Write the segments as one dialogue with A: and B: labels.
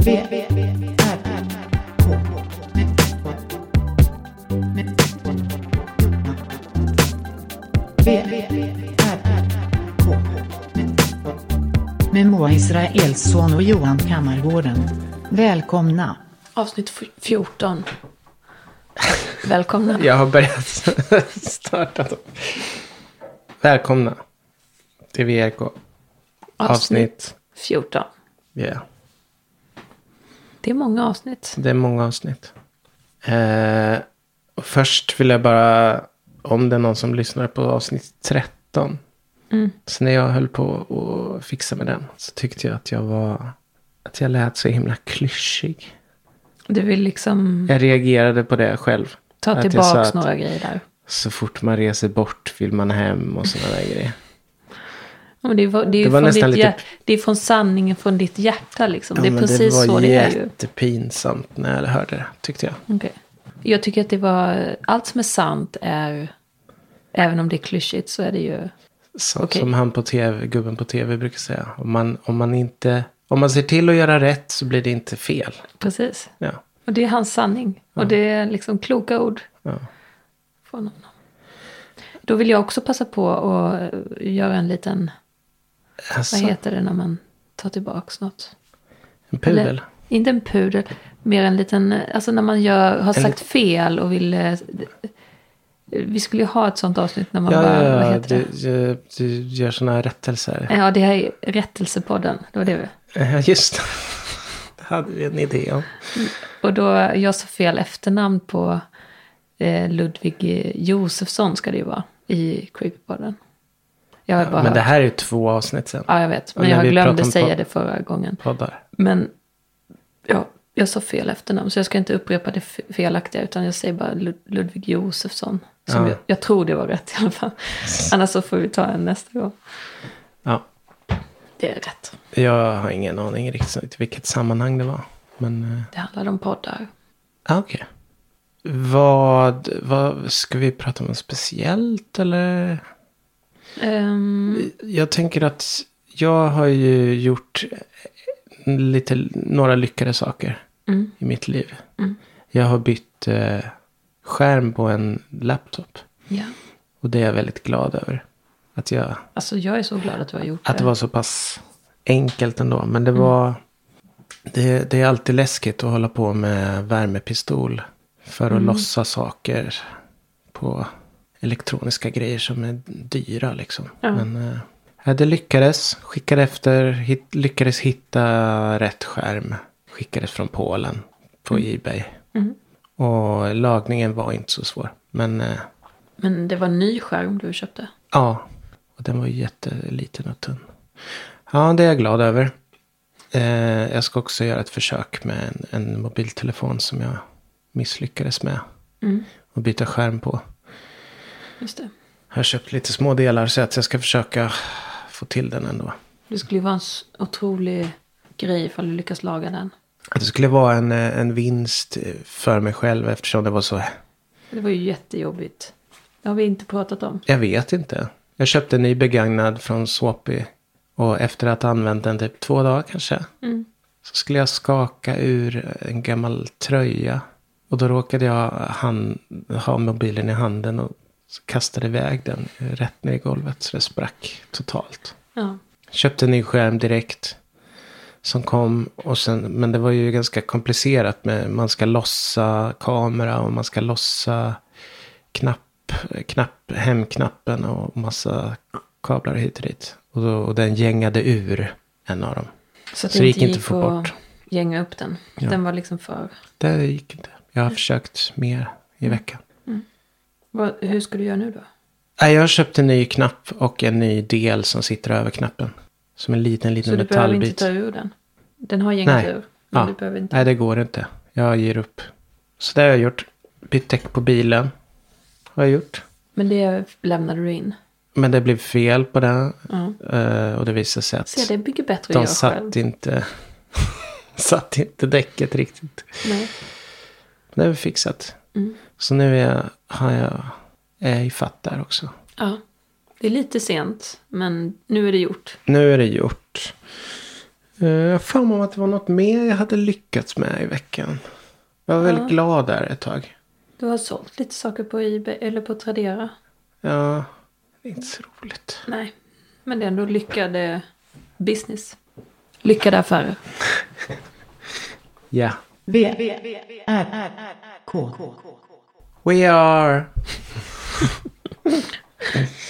A: V, R, K. V, R, K. Med Moa Israelsson och Johan Kammargården. Välkomna.
B: Avsnitt f- 14. Välkomna.
C: Jag har börjat starta. då. Välkomna till VRK. Avsnitt.
B: 14.
C: Ja,
B: Det är många avsnitt.
C: det är många avsnitt. Eh, och först vill jag bara, om det är någon som lyssnar på avsnitt 13.
B: Mm.
C: Så när jag höll på att fixa med den så tyckte jag att jag var, att jag lät så himla klyschig.
B: Du vill liksom
C: Jag reagerade på det själv.
B: ta
C: Att jag sa
B: tillbaks
C: att-
B: några grejer där.
C: Så fort man reser bort vill man hem och sådana där grejer.
B: Ja, Men det, var, det, är ju
C: Det var
B: från
C: nästan
B: ditt
C: lite-
B: hjär, det är från sanningen från ditt hjärta liksom.
C: Ja,
B: det är
C: men
B: precis
C: det var
B: så det är ju.
C: jättepinsamt när jag hörde det, tyckte jag.
B: Okej. Jag tycker att det var, allt som är sant är, även om det är klyschigt så är det ju,
C: Så,
B: Okej.
C: Som han på tv, gubben på tv brukar säga. Om man, om, man inte, om man ser till att göra rätt så blir det inte fel.
B: precis.
C: Ja.
B: Och det är hans sanning. Och det är liksom kloka ord
C: Ja.
B: från honom. Då vill jag också passa på att göra en liten
C: Alltså,
B: Vad heter det när man tar tillbaks något?
C: en pudel.
B: Eller, inte en pudel, mer en liten, alltså när man gör, har sagt fel och vill... eh, Vi skulle ju ha ett sånt avsnitt när man
C: Ja,
B: bara,
C: ja,
B: vad
C: ja
B: heter
C: du,
B: det?
C: du, du gör sådana här rättelser.
B: Ja, det här är Rättelsepodden, det var det. vi-
C: Ja, just det. Det hade vi en idé om.
B: Och då, jag sa fel efternamn på eh, Ludvig Josefsson ska det ju vara, i Creepypodden. Jag har bara
C: Men det här är ju två avsnitt sen.
B: Ja, jag vet, men
C: när
B: jag
C: vi
B: glömde
C: pratar om
B: säga
C: podd-
B: det förra gången.
C: Poddar.
B: Men ja, jag sa fel efternamn så jag ska inte upprepa det f- felaktiga utan jag säger bara Lud- Ludvig Josefsson. Som
C: Ja.
B: jag, jag tror det var rätt i alla fall. Annars så får vi ta en nästa gång.
C: Ja,
B: Det är rätt.
C: jag har ingen aning riktigt i vilket sammanhang det var. Men, eh,
B: Det handlar om poddar.
C: ja, Ah, okej. Vad, vad, ska vi prata om något speciellt eller?
B: Ehm,
C: Jag tänker att jag har ju gjort lite, några lyckade saker
B: Mm.
C: i mitt liv. Jag har bytt eh, skärm på en laptop.
B: ja.
C: Och det är jag väldigt glad över. Att, jag,
B: Alltså jag är så glad att du har gjort
C: att det
B: det.
C: var så pass enkelt ändå. Men det var... Det, det är alltid läskigt att hålla på med värmepistol. För att lossa saker på elektroniska grejer som är dyra liksom.
B: Ja.
C: Men eh, ja, det lyckades. Skickade efter. Hit, lyckades hitta rätt skärm. Skickades från Polen på Ebay.
B: Mm.
C: Och lagningen var inte så svår. Men eh,
B: Men det var en ny skärm du köpte.
C: Ja, och den var ju jätteliten och tunn. Ja, det är jag glad över. Eh, jag ska också göra ett försök med en, en mobiltelefon som jag misslyckades med.
B: Mm.
C: Och byta skärm på.
B: Just det.
C: Jag har köpt lite små delar så att jag ska försöka få till den ändå.
B: Det skulle ju vara en s- otrolig grej ifall du lyckas laga den.
C: Att det skulle vara en, eh, en vinst för mig själv eftersom det var så.
B: Det var ju jättejobbigt. Det har vi inte pratat om.
C: Jag vet inte. Jag köpte en ny begagnad från Swapi. Och efter att ha använt den typ två dagar kanske.
B: Mm.
C: Så skulle jag skaka ur en gammal tröja. Och då råkade jag han, ha mobilen i handen och kastade iväg den rätt ner i golvet. Så det sprack totalt.
B: Ja.
C: Köpte en ny skärm direkt. Som kom och sen, men det var ju ganska komplicerat med man ska lossa kamera och man ska lossa knapp, knapp hemknappen och massa kablar hit och dit. Och, då, och den gängade ur en av dem.
B: Så, att
C: Så
B: det inte
C: det gick
B: gick
C: inte att få
B: att
C: bort.
B: gänga upp den.
C: Ja.
B: Den var liksom för...
C: Det gick inte. Jag har försökt mer i
B: Mm.
C: veckan.
B: Vad, hur ska du göra nu då?
C: Nej, jag har köpt en ny knapp och en ny del som sitter över knappen. Som en liten,
B: Så
C: liten
B: du behöver inte
C: metallbit.
B: ta ur den? Den har gängat
C: Nej.
B: ur. Men
C: Ja.
B: du behöver inte.
C: Nej, det går inte. Jag ger upp. Så det har jag gjort. Bytt däck på bilen. Har jag gjort.
B: Men det lämnade du in.
C: Men det blev fel på den.
B: Ja.
C: Eh, och det visade sig att
B: Se, det bygger bättre att
C: de
B: göra
C: satt
B: själv.
C: inte... satt inte däcket riktigt.
B: Nej.
C: Men det är väl fixat.
B: Mm.
C: Så nu är jag, har jag, är jag i fatt där också.
B: Ja. Det är lite sent, men nu är det gjort.
C: Nu är det gjort. Eh, Jag har för mig att det var något mer jag hade lyckats med i veckan. Jag var väldigt glad där ett tag.
B: Du har sålt lite saker på Ebay eller på Tradera.
C: Ja, det är inte så roligt.
B: Nej, men det är ändå lyckade business. Lyckade affärer.
C: Ja.
A: V, V, V, R, R, R, K.
C: We are...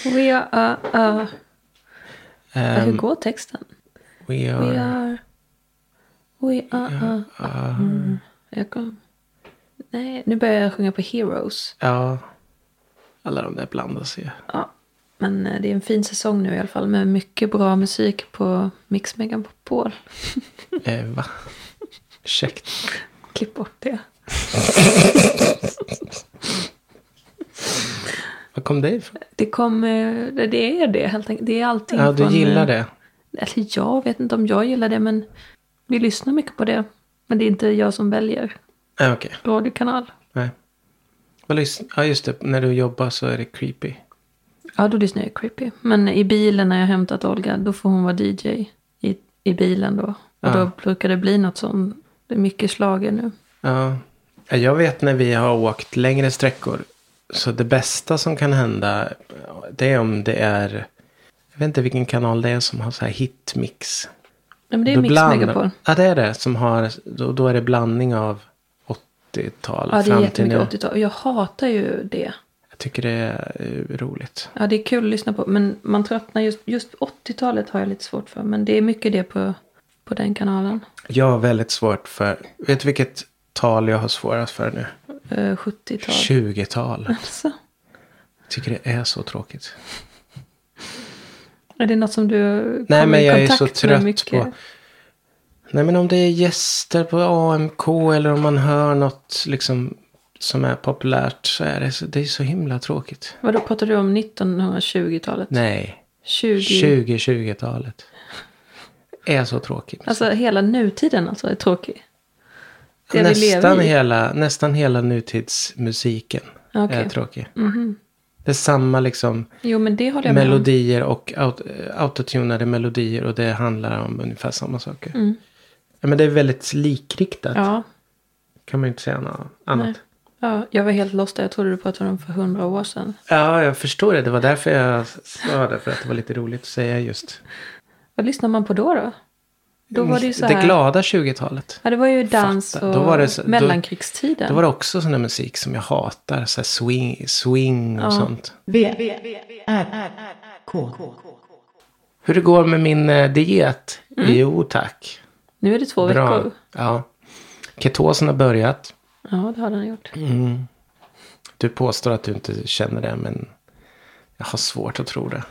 B: We are... Uh, uh, hur
C: ehm,
B: går texten?
C: we
B: We
C: are...
B: are... We are... Uh, mm, jag kom. Nej, nu börjar jag sjunga på Heroes.
C: Ja. Alla de där blandas ju.
B: Ja, men eh, det är en fin säsong nu i alla fall med mycket bra musik på Mix Megapol.
C: Eh, va? Ursäkta.
B: Klipp bort det.
C: Var kom det ifrån?
B: Det kommer... Det är det helt enkelt. Det är allting
C: Ja, du
B: från,
C: gillar
B: eh,
C: det.
B: Eller jag vet inte om jag gillar det men vi lyssnar mycket på det. Men det är inte jag som väljer
C: Ja, okej.
B: radiokanal.
C: Nej. Vad lys- Ja, just det. När du jobbar så är det creepy.
B: Ja, då lyssnar jag creepy. Men i bilen när jag hämtat Olga, då får hon vara DJ i, i bilen då. Och
C: Ja.
B: då brukar det bli något sånt. Det är mycket slager nu.
C: Ja. Ja, Jag vet när vi har åkt längre sträckor. Så det bästa som kan hända. Det är om det är. Jag vet inte vilken kanal det är som har så här hitmix.
B: Ja, men det är
C: Då
B: Mix
C: bland-
B: Megapol.
C: Ja det är det. Som har. Då, då är det blandning av 80-tal
B: Ja, det är
C: fram till nu.
B: jättemycket 80-tal. Och jag hatar ju det.
C: Jag tycker det är eh, roligt.
B: Ja, det är kul att lyssna på. Men man tröttnar just, just 80-talet har jag lite svårt för. Men det är mycket det på, på den kanalen.
C: Jag har väldigt svårt för. Vet du vilket tal jag har svårast för nu?
B: Eh, 70-tal.
C: 20-tal.
B: Alltså.
C: Tycker det är så tråkigt.
B: Är det något som du
C: Nej
B: kom
C: men
B: i
C: jag är
B: kontakt
C: så
B: med
C: trött
B: mycket?
C: på. Nej men om det är gäster på AMK eller om man hör något liksom som är populärt så är det så, det är så himla tråkigt.
B: Vadå, pratar du om 1920-talet?
C: Nej,
B: 20...
C: 2020-talet. Är så tråkigt.
B: Alltså hela nutiden alltså är tråkig. det vi
C: nästan,
B: lever i.
C: hela, nästan hela nutidsmusiken
B: Okej.
C: är tråkig. Det är samma liksom
B: Mhm. Jo men det håller jag med
C: melodier och aut- autotunade melodier och det handlar om ungefär samma saker. Ja, men det är väldigt likriktat.
B: om. Mm. Ja,
C: Kan man ju inte säga något annat.
B: nej. ja, jag var helt lost där. Jag trodde du pratade om för hundra år sedan.
C: Ja, jag förstår det. Det var därför jag sa det. För att det var lite roligt att säga just.
B: Vad lyssnar man på då då? Då var
C: Mm,
B: det ju så här.
C: glada 20-talet.
B: Ja, det var ju dans
C: Fatta.
B: och
C: Då var det så- då-
B: mellankrigstiden.
C: Det var också sån där musik som jag hatar. Så här swing, swing och sånt.
A: V, V, V, R, R, R, K.
C: Hur det går med min eh, diet? Jo, tack.
B: Nu är Mm. det två
C: Bra.
B: veckor.
C: Ja. Ketosen har börjat.
B: Ja, det har den gjort.
C: Mm. Du påstår att du inte känner det, men jag har svårt att tro det.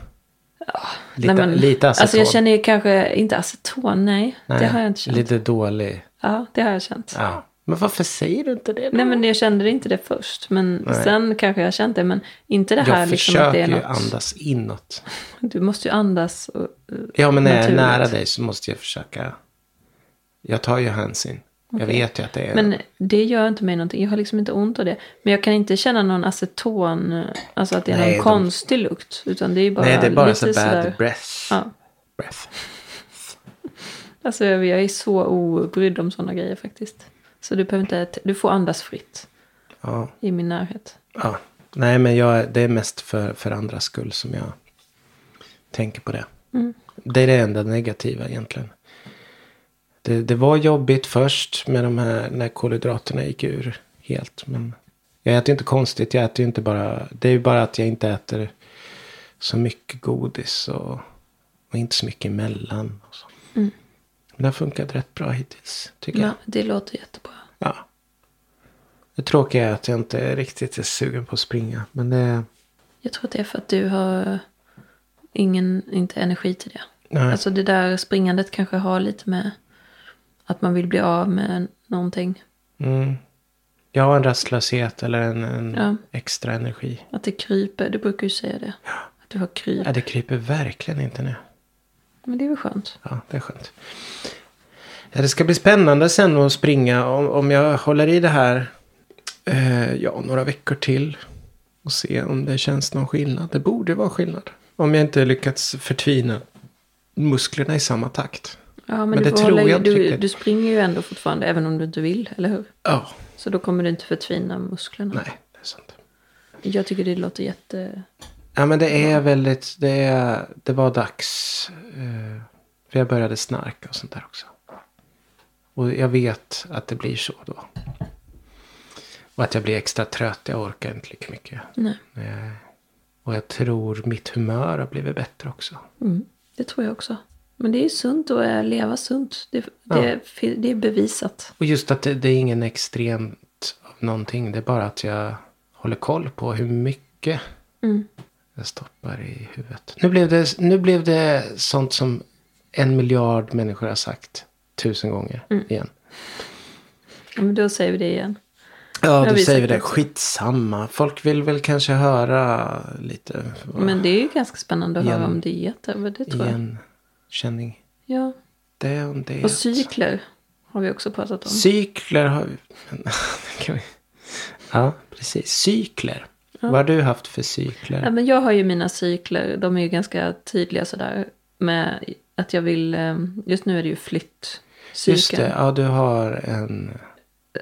C: Lite,
B: Nej, men-
C: lite aceton.
B: Alltså jag känner ju kanske inte aceton, nej.
C: Nej,
B: Det har jag inte känt.
C: Lite dålig.
B: Ja, det har jag känt.
C: Ja. Men varför säger du inte det? då?
B: Nej men jag kände inte det först. Men sen kanske jag kände det. Men inte det här
C: jag
B: liksom att det
C: försöker
B: är
C: ju
B: något.
C: andas inåt.
B: Du måste ju andas. Och, eh,
C: Ja, men när jag är
B: naturligt.
C: nära dig så måste jag försöka. Jag tar ju hänsyn. Jag vet ju att det är.
B: Men det gör inte mig någonting. Jag har liksom inte ont av det. Men jag kan inte känna någon aceton. eh, Alltså att det är
C: Nej,
B: någon
C: de-
B: konstig lukt. Utan det är bara,
C: Nej, det är bara
B: lite
C: så bad
B: sådär.
C: breath.
B: Ja.
C: breath.
B: Alltså jag jag är så obrydd om sådana grejer faktiskt. Så du behöver inte, du får andas fritt
C: Ja,
B: i min närhet.
C: ja. Nej, men jag, det är mest för, för andras skull som jag tänker på det. Det är det enda negativa egentligen. Det, det var jobbigt först med de här när kolhydraterna gick ur helt. Men jag äter ju inte konstigt. Jag äter ju inte bara. Det är ju bara att jag inte äter så mycket godis och, och inte så mycket emellan. Och så. Men det har funkat rätt bra hittills tycker
B: Ja,
C: jag.
B: det låter jättebra.
C: Ja. Det tråkiga är att jag inte riktigt är sugen på att springa. Men det,
B: Jag tror att det är för att du har ingen, inte energi till det.
C: Nej.
B: Alltså det där springandet kanske har lite med att man vill bli av med någonting.
C: mm, jag har en rastlöshet eller en, en
B: Ja.
C: extra energi.
B: Att det kryper, du brukar ju säga det. Att du har kryp.
C: Ja, det kryper verkligen inte nu.
B: Men det är väl skönt.
C: Ja, det är skönt. Ja, det ska bli spännande sen att springa om, om jag håller i det här eh, ja, några veckor till. Och se om det känns någon skillnad. Det borde vara skillnad. Om jag inte lyckats förtvina musklerna i samma takt.
B: Ja, men,
C: Men
B: du,
C: det
B: får
C: tror
B: hålla,
C: jag inte
B: du,
C: riktigt.
B: du springer ju ändå fortfarande, även om du inte vill, eller hur?
C: Ja,
B: Så då kommer du inte förtvina musklerna.
C: nej, det är sant.
B: Jag tycker det låter jätte...
C: Ja, men det är väldigt, det, är, det var dags. eh, För jag började snarka och sånt där också. Och jag vet att det blir så då. Och att jag blir extra trött, jag orkar inte lika mycket.
B: Nej,
C: Eh, Och jag tror mitt humör har blivit bättre också.
B: mm. det tror jag också. Men det är ju sunt att eh, leva sunt. Det, det, det är bevisat.
C: Och just att det, det är ingen extremt av någonting. Det är bara att jag håller koll på hur mycket
B: Mm.
C: jag stoppar i huvudet. Nu blev det, nu blev det sånt som en miljard människor har sagt tusen gånger
B: Mm.
C: igen.
B: Ja, men då säger vi det igen.
C: Ja,
B: har
C: du
B: vi
C: säger
B: sagt
C: det.
B: också.
C: Skitsamma. Folk vill väl kanske höra lite
B: Men det är ju ganska spännande att
C: Igen.
B: höra om dieter. men Det tror Mm, jag.
C: igenkänning.
B: Ja.
C: Det om det.
B: Och cykler har vi också pratat om.
C: Cykler har vi. men, kan vi... Ja, precis. Cykler. Vad har du haft för cykler?
B: Ja, men jag har ju mina cykler, de är ju ganska tydliga sådär. Med att jag vill, eh, just nu är det ju
C: Just
B: flyttcykeln.
C: det, ja du har en,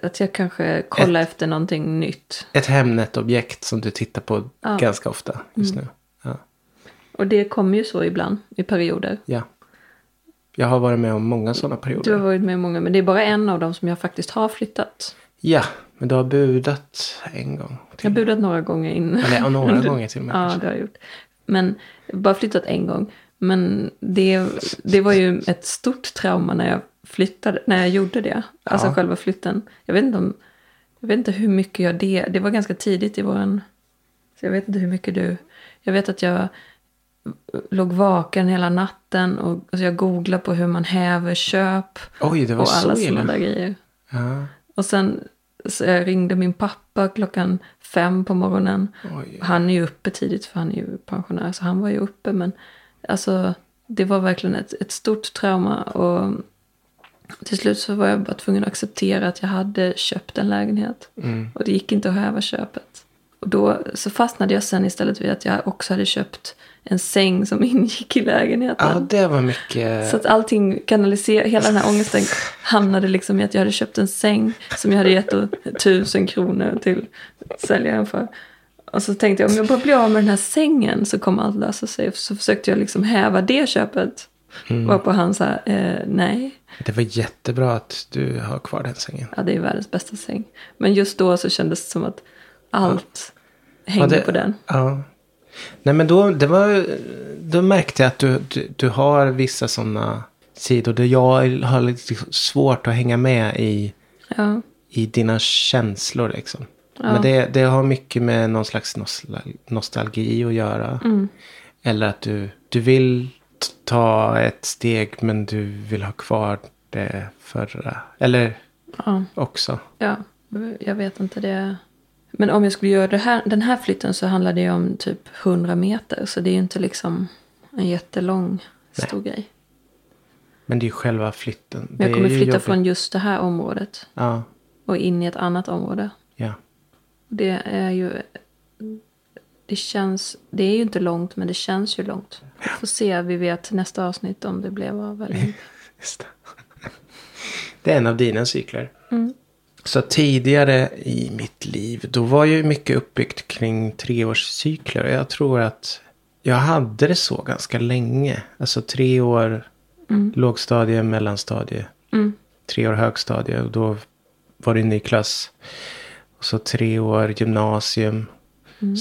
B: Att jag kanske kollar efter någonting nytt.
C: ett Hemnet-objekt som du tittar på
B: Ja. Mm.
C: ganska ofta just nu. Ja.
B: Och det kommer ju så ibland, i perioder.
C: ja. Jag har varit med om många sådana
B: Du har
C: perioder.
B: varit med många, men det är bara en av dem som jag faktiskt har flyttat.
C: Ja, men du har budat en gång.
B: Jag har
C: Till.
B: budat några gånger in.
C: Eller ja, några gånger till och med.
B: Ja,
C: kanske.
B: det har jag gjort. Men bara flyttat en gång. Men det, det var ju ett stort trauma när jag flyttade, när jag gjorde det. Alltså
C: Ja.
B: själva flytten. Jag vet, inte om, jag vet inte hur mycket jag det, det var ganska tidigt i våran, så jag vet inte hur mycket du, jag vet att jag låg vaken hela natten och alltså jag googlade på hur man häver köp
C: Oj, det var
B: och alla
C: så
B: sådana där
C: illa.
B: grejer.
C: Ja,
B: Och sen så jag ringde min pappa klockan fem på morgonen.
C: oj.
B: Han är ju uppe tidigt för han är ju pensionär så han var ju uppe men alltså det var verkligen ett, ett stort trauma och till slut så var jag bara tvungen att acceptera att jag hade köpt en lägenhet
C: Mm.
B: och det gick inte att häva köpet. Och då så fastnade jag sen istället vid att jag också hade köpt en säng som ingick i lägenheten.
C: Ja, det var mycket.
B: Så att allting kanaliserade, hela den här ångesten hamnade liksom i att jag hade köpt en säng som jag hade gett tusen kronor till säljaren för. Och så tänkte jag om jag bara blir av med den här sängen så kommer allt lösa sig. Så försökte jag liksom häva det köpet.
C: Mm.
B: Varpå han sa eh, nej,
C: Det var jättebra att du har kvar den sängen.
B: ja, det är världens bästa säng. Men just då så kändes det som att allt
C: Ja,
B: hängde
C: det-
B: på den.
C: Ja. Nej men då, det var, då märkte jag att du, du, du har vissa sådana sidor där jag har lite svårt att hänga med i,
B: Ja,
C: i dina känslor liksom. Men det, det har mycket med någon slags nostal- nostalgi att göra.
B: Mm.
C: Eller att du, du vill t- ta ett steg men du vill ha kvar det förra. Eller
B: ja.
C: också.
B: Ja, jag vet inte det. Men om jag skulle göra det här, den här flytten så handlar det ju om typ 100 meter. Så det är ju inte liksom en jättelång stor grej.
C: Men det är ju själva flytten.
B: Men jag
C: Det
B: kommer
C: är ju
B: flytta
C: jobbigt.
B: från just det här området
C: Ja,
B: och in i ett annat område.
C: ja.
B: Det är ju... Det känns... Det är ju inte långt, men det känns ju långt. Vi får se, vi vet nästa avsnitt om det blev av eller
C: Mm.
B: inte.
C: Just det. Det är en av dina cykler. Så tidigare i mitt liv, då var ju mycket uppbyggt kring treårscykler. Och jag tror att jag hade det så ganska länge. Alltså tre år lågstadie, mellanstadie.
B: Mm.
C: Tre år högstadie och då var det en ny klass. Och så tre år gymnasium.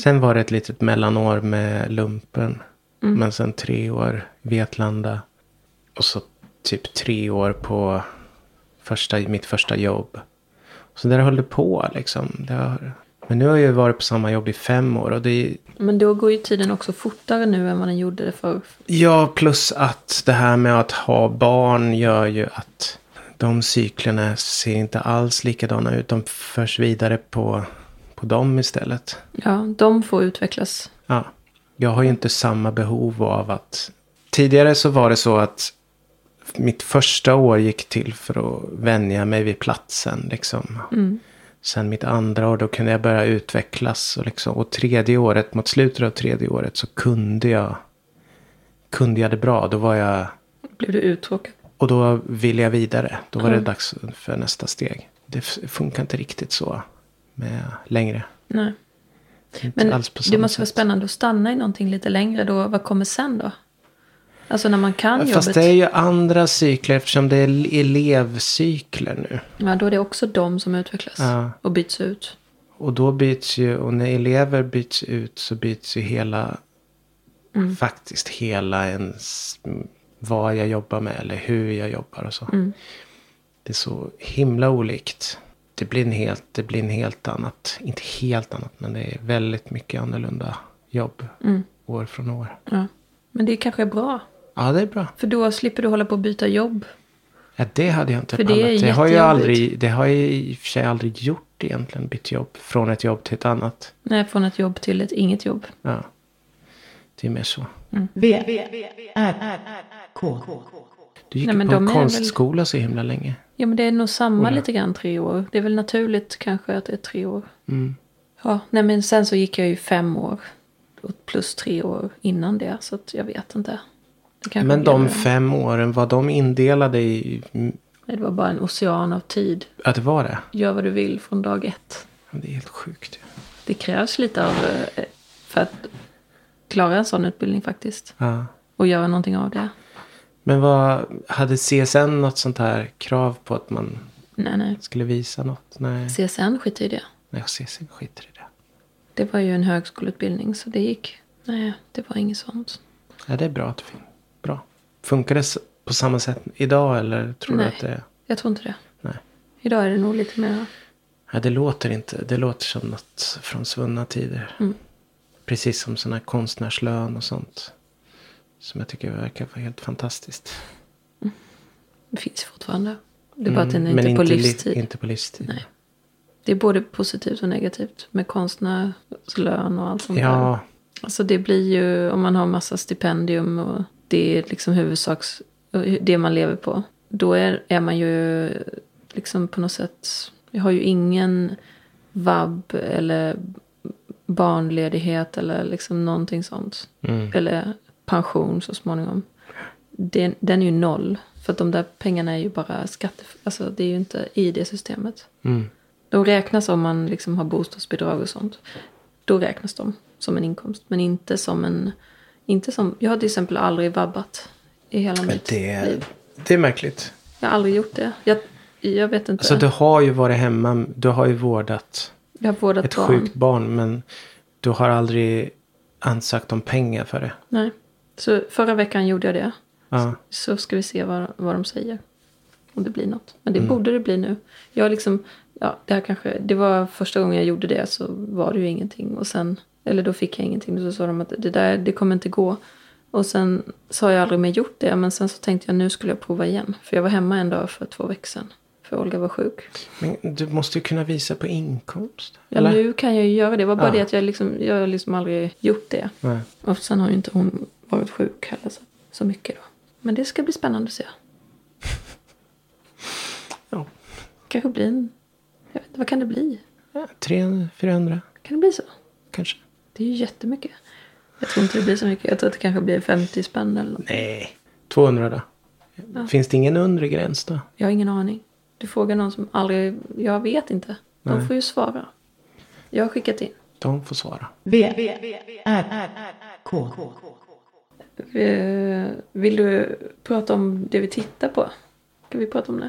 C: Sen var det ett litet mellanår med lumpen. Men sen tre år Vetlanda. Och så typ tre år på första, mitt första jobb. Så där höll det på liksom. Det har, men nu har jag ju varit på samma jobb i fem år. Och det är,
B: Men då går ju tiden också fortare nu än vad den gjorde det för.
C: ja, plus att det här med att ha barn gör ju att de cyklerna ser inte alls likadana ut. De förs vidare på, på dem istället.
B: Ja, de får utvecklas.
C: Ja. Jag har ju inte samma behov av att... Tidigare så var det så att mitt första år gick till för att vänja mig vid platsen. Liksom. Sen mitt andra år då kunde jag börja utvecklas. Och, liksom, och tredje året, mot slutet av tredje året så kunde jag, kunde jag det bra. Då var jag
B: Blev du uttråkad?
C: Och då ville jag vidare. Då var det dags för nästa steg. Det f- funkar inte riktigt så med längre.
B: Nej.
C: Inte
B: Men
C: alls på
B: det
C: samma
B: måste vara
C: sätt.
B: spännande att stanna i någonting lite längre då. Vad kommer sen då? Alltså när man kan
C: Ja,
B: jobbet.
C: Fast det är ju andra cykler eftersom det är elevcykler nu.
B: Ja, då är det också de som utvecklas
C: Ja.
B: och byts ut.
C: Och då byts ju, och när elever byts ut så byts ju hela, faktiskt hela ens, vad jag jobbar med eller hur jag jobbar och så. Det är så himla olikt. Det blir en helt, det blir en helt annat, inte helt annat, men det är väldigt mycket annorlunda jobb år från år.
B: Ja. Men det kanske är bra.
C: Ja, det är bra.
B: För då slipper du hålla på att byta jobb.
C: Ja, det hade jag inte
B: För det är
C: pallat. Det har, ju
B: jättejobbigt.
C: aldrig, det har jag i och för sig aldrig gjort egentligen, bytt jobb från ett jobb till ett annat.
B: Nej, från ett jobb till ett inget jobb.
C: Ja. Det är mer så.
A: V, R, R, K.
C: Du gick
B: Nej,
C: ju
B: men
C: på en
B: de är väl-
C: konstskola så himla länge.
B: Ja, men det är nog samma lite grann tre år. Det är väl naturligt kanske att det är tre år.
C: Mm.
B: Ja, nej men sen så gick jag ju fem år. och Plus tre år innan det, så att jag vet inte. Det kanske
C: Men
B: blev-
C: de fem åren, var de indelade i... mm,
B: Nej, Det var bara en ocean av tid.
C: Att det var det?
B: Gör vad du vill från dag ett.
C: Ja, Det är helt sjukt. ju.
B: Det krävs lite av eh, för att klara en sån utbildning faktiskt.
C: Ja.
B: Och göra någonting av det.
C: Men vad, hade CSN något sånt här krav på att man
B: Nej, nej.
C: skulle visa något? Nej,
B: CSN skiter i det.
C: Nej CSN skiter i det.
B: Det var ju en högskoleutbildning så det gick. Nej, det var inget sånt.
C: Ja, det är bra att det fin- Bra. Funkar det s- på samma sätt idag eller tror
B: Nej.
C: du att det...
B: Jag tror inte det.
C: Nej.
B: Idag är det nog lite mer...
C: Ja, det låter inte. Det låter som något från svunna tider.
B: Mm.
C: Precis som sådana här konstnärslön och sånt. Som jag tycker verkar vara helt fantastiskt.
B: Det finns fortfarande. Det är bara att den är
C: Mm, Men
B: inte, på
C: li-
B: livstid.
C: inte på livstid.
B: Nej. Det är både positivt och negativt med konstnärslön och allt sånt där.
C: Ja,
B: Alltså det blir ju om man har massa stipendium och det är liksom huvudsaks det man lever på. Då är, är man ju liksom på något sätt, jag har ju ingen vab eller barnledighet eller liksom någonting sånt. Eller pension så småningom. Den, den är ju noll. För att de där pengarna är ju bara skatte... Alltså det är ju inte i det systemet.
C: mm.
B: De räknas om man liksom har bostadsbidrag och sånt. Då räknas de som en inkomst. Men inte som en... Inte som, jag har till exempel aldrig vabbat i hela
C: men
B: mitt
C: det,
B: liv.
C: det är märkligt.
B: Jag har aldrig gjort det. Jag, jag vet inte.
C: Alltså du har ju varit hemma. Du har ju vårdat
B: jag har vårdat
C: ett
B: barn.
C: sjukt barn. Men du har aldrig ansökt om pengar för det.
B: Nej. Så förra veckan gjorde jag det.
C: Ja.
B: Så ska vi se vad, vad de säger. Om det blir något. Men det
C: Mm.
B: borde det bli nu. Jag liksom, ja, det här kanske, det var första gången jag gjorde det så var det ju ingenting. Och sen, eller då fick jag ingenting. Så sa de att det där, det kommer inte gå. Och sen så har jag aldrig mer gjort det. Men sen så tänkte jag nu skulle jag prova igen. För jag var hemma en dag för två veckor sedan. För Olga var sjuk.
C: Men du måste ju kunna visa på inkomst.
B: Ja,
C: eller?
B: nu kan jag ju göra det. Det var bara
C: Ja.
B: det att jag liksom, jag har liksom aldrig gjort det.
C: Nej.
B: Och sen har ju inte hon varit sjuk heller så, så mycket då. Men det ska bli spännande att se.
C: Ja.
B: kanske blir en... Jag vet inte, vad kan det bli?
C: Ja, 300, 400
B: Kan det bli så?
C: kanske.
B: Det är ju jättemycket. Jag tror inte det blir så mycket. Jag tror att det kanske blir 50 spänn eller något.
C: Nej. 200 då. Finns det ingen undre gräns då?
B: Jag har ingen aning. Du frågar någon som aldrig... Jag vet inte. De får ju svara. Jag har skickat in.
C: De får svara.
A: V, R, R, K.
B: Eh, Vill du prata om det vi tittar på? Kan vi prata om det?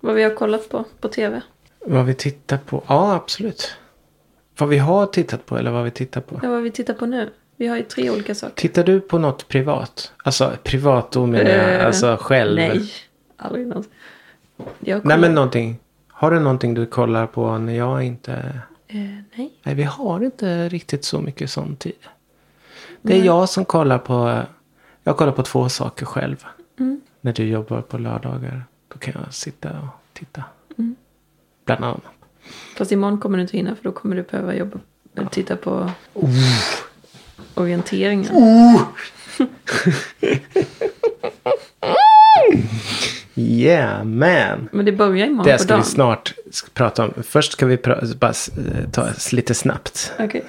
B: Vad vi har kollat på på tv?
C: Vad vi tittar på? Ja, absolut. Vad vi har tittat på eller vad vi tittar på?
B: Ja, vad vi tittar på nu. Vi har ju tre olika saker.
C: Tittar du på något privat? Alltså privat då menar jag.
B: Eh,
C: Alltså själv.
B: Nej, aldrig någonsin. Jag
C: Nej
B: kollar-
C: men någonting. Har du någonting du kollar på när jag inte...
B: Eh, nej.
C: Nej vi har inte riktigt så mycket sån tid. Det är jag som kollar på... Jag kollar på två saker själv.
B: Mm.
C: När du jobbar på lördagar. Då kan jag sitta och titta.
B: Mm.
C: Bland annat.
B: Fast imorgon kommer du inte hinna för då kommer du behöva jobba, eh, titta på orienteringen.
C: Yeah man!
B: Men det börjar imorgon
C: Det
B: på
C: ska vi
B: dagen.
C: snart s- prata om. Först ska vi pra- bara eh, s- ta s- lite snabbt.
B: Okej.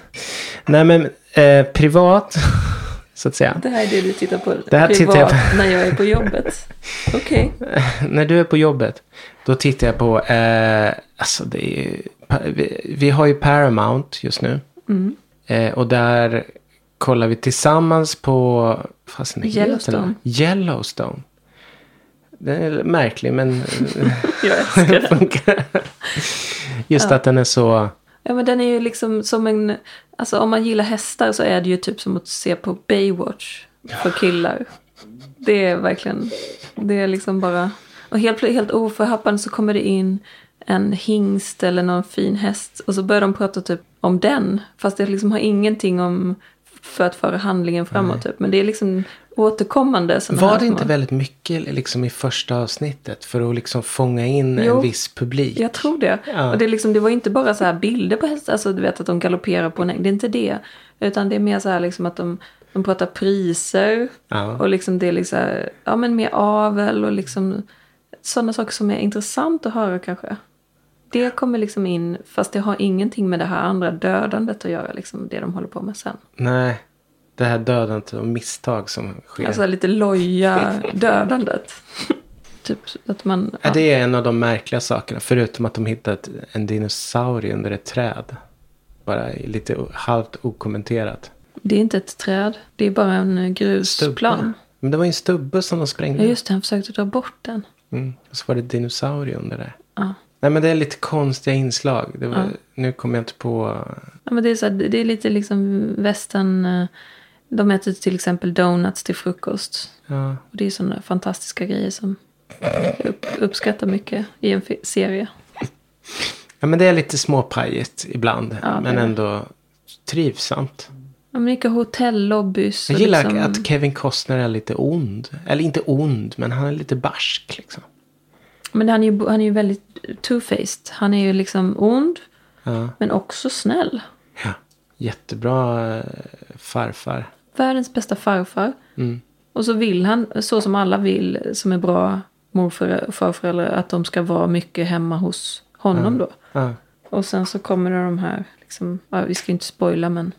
C: Nej men eh, privat så att säga.
B: Det här är det du tittar på
C: Det här
B: privat
C: tittar jag på.
B: när jag är på jobbet. Okej.
C: När du är på jobbet, då tittar jag på, eh, alltså det är ju, pa- vi, vi har ju Paramount just nu.
B: Mm.
C: Eh, och där kollar vi tillsammans på, fast den heter
B: Yellowstone.
C: den? Yellowstone. Den är märklig men eh,
B: Jag älskar det.
C: funkar. Just att den är så,
B: Ja men den är ju liksom som en... Alltså om man gillar hästar så är det ju typ som att se på Baywatch för killar. Det är verkligen... Det är liksom bara... Och helt, plö- helt oförhappande så kommer det in en hingst eller någon fin häst och så börjar de prata typ om den. Fast det liksom har ingenting om för att föra handlingen framåt typ. Men det är liksom återkommande. såna här
C: var det
B: små-
C: inte väldigt mycket liksom i första avsnittet för att liksom fånga in
B: Jo,
C: en viss publik?
B: Jag tror det.
C: Ja.
B: Och det, är liksom, det var inte bara så här bilder på hästar, alltså du vet att de galopperar på en äng. Det är inte det. Utan det är mer så här liksom att de, de pratar priser.
C: Ja.
B: Och liksom det är liksom, ja men mer avel och liksom sådana saker som är intressant att höra kanske. Det kommer liksom in, fast det har ingenting med det här andra dödandet att göra, liksom det de håller på med sen.
C: Nej, det här dödandet och misstag som sker.
B: Alltså lite loja dödandet. typ att man...
C: Ja, det är en av de märkliga sakerna. Förutom att de hittat en dinosaurie under ett träd. Bara i lite o- halvt okommenterat.
B: Det är inte ett träd, det är bara en eh, grusplan.
C: Men det var ju en stubbe som de
B: Ja
C: sprängde.
B: just det, han försökte dra bort den.
C: Mm. Och så var det dinosaurie under det.
B: Ja.
C: Nej men det är lite konstiga inslag. Det var, Nu kommer jag inte på.
B: Ja, men det, är så här, det är lite liksom västern... eh, De äter till exempel donuts till frukost.
C: Ja.
B: Och det är sådana fantastiska grejer som jag upp, uppskattar mycket i en fi- serie.
C: ja men det är lite småpajigt ibland.
B: Ja, det
C: men
B: är det.
C: ändå trivsamt.
B: Ja, men vilka hotellobbys. och
C: Jag gillar
B: liksom,
C: att Kevin Costner är lite ond. Eller inte ond men han är lite barsk liksom.
B: Men han är ju, han är ju väldigt two-faced. Han är ju liksom ond,
C: Ja.
B: men också snäll.
C: Ja. Jättebra eh, farfar.
B: Världens bästa farfar.
C: Mm.
B: Och så vill han, så som alla vill, som är bra morföräldrar och farföräldrar, att de ska vara mycket hemma hos honom
C: Mm.
B: då.
C: Ja.
B: Och sen så kommer det de här, liksom, ja, vi ska ju inte spoila men.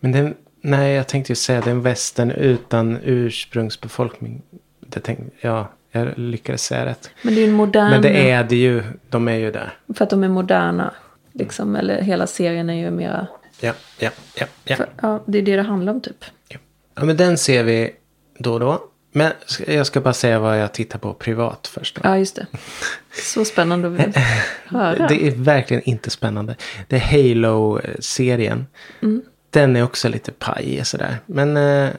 C: Men den, nej, jag tänkte ju säga den västern utan ursprungsbefolkning. Det tänkte, ja, jag lyckades säga rätt.
B: Men det är ju en modern,
C: Men det är det ju. De är ju där.
B: för att de är moderna. Liksom, eller hela serien är ju mera,
C: Ja, ja, ja, ja.
B: för, ja det är det det handlar om typ.
C: ja men den ser vi då och då. Men ska- jag ska bara säga vad jag tittar på privat först. Då.
B: Ja just det. Så spännande att vilja höra.
C: Det är verkligen inte spännande. Det är Halo-serien. Den är också lite paj sådär. Men eh,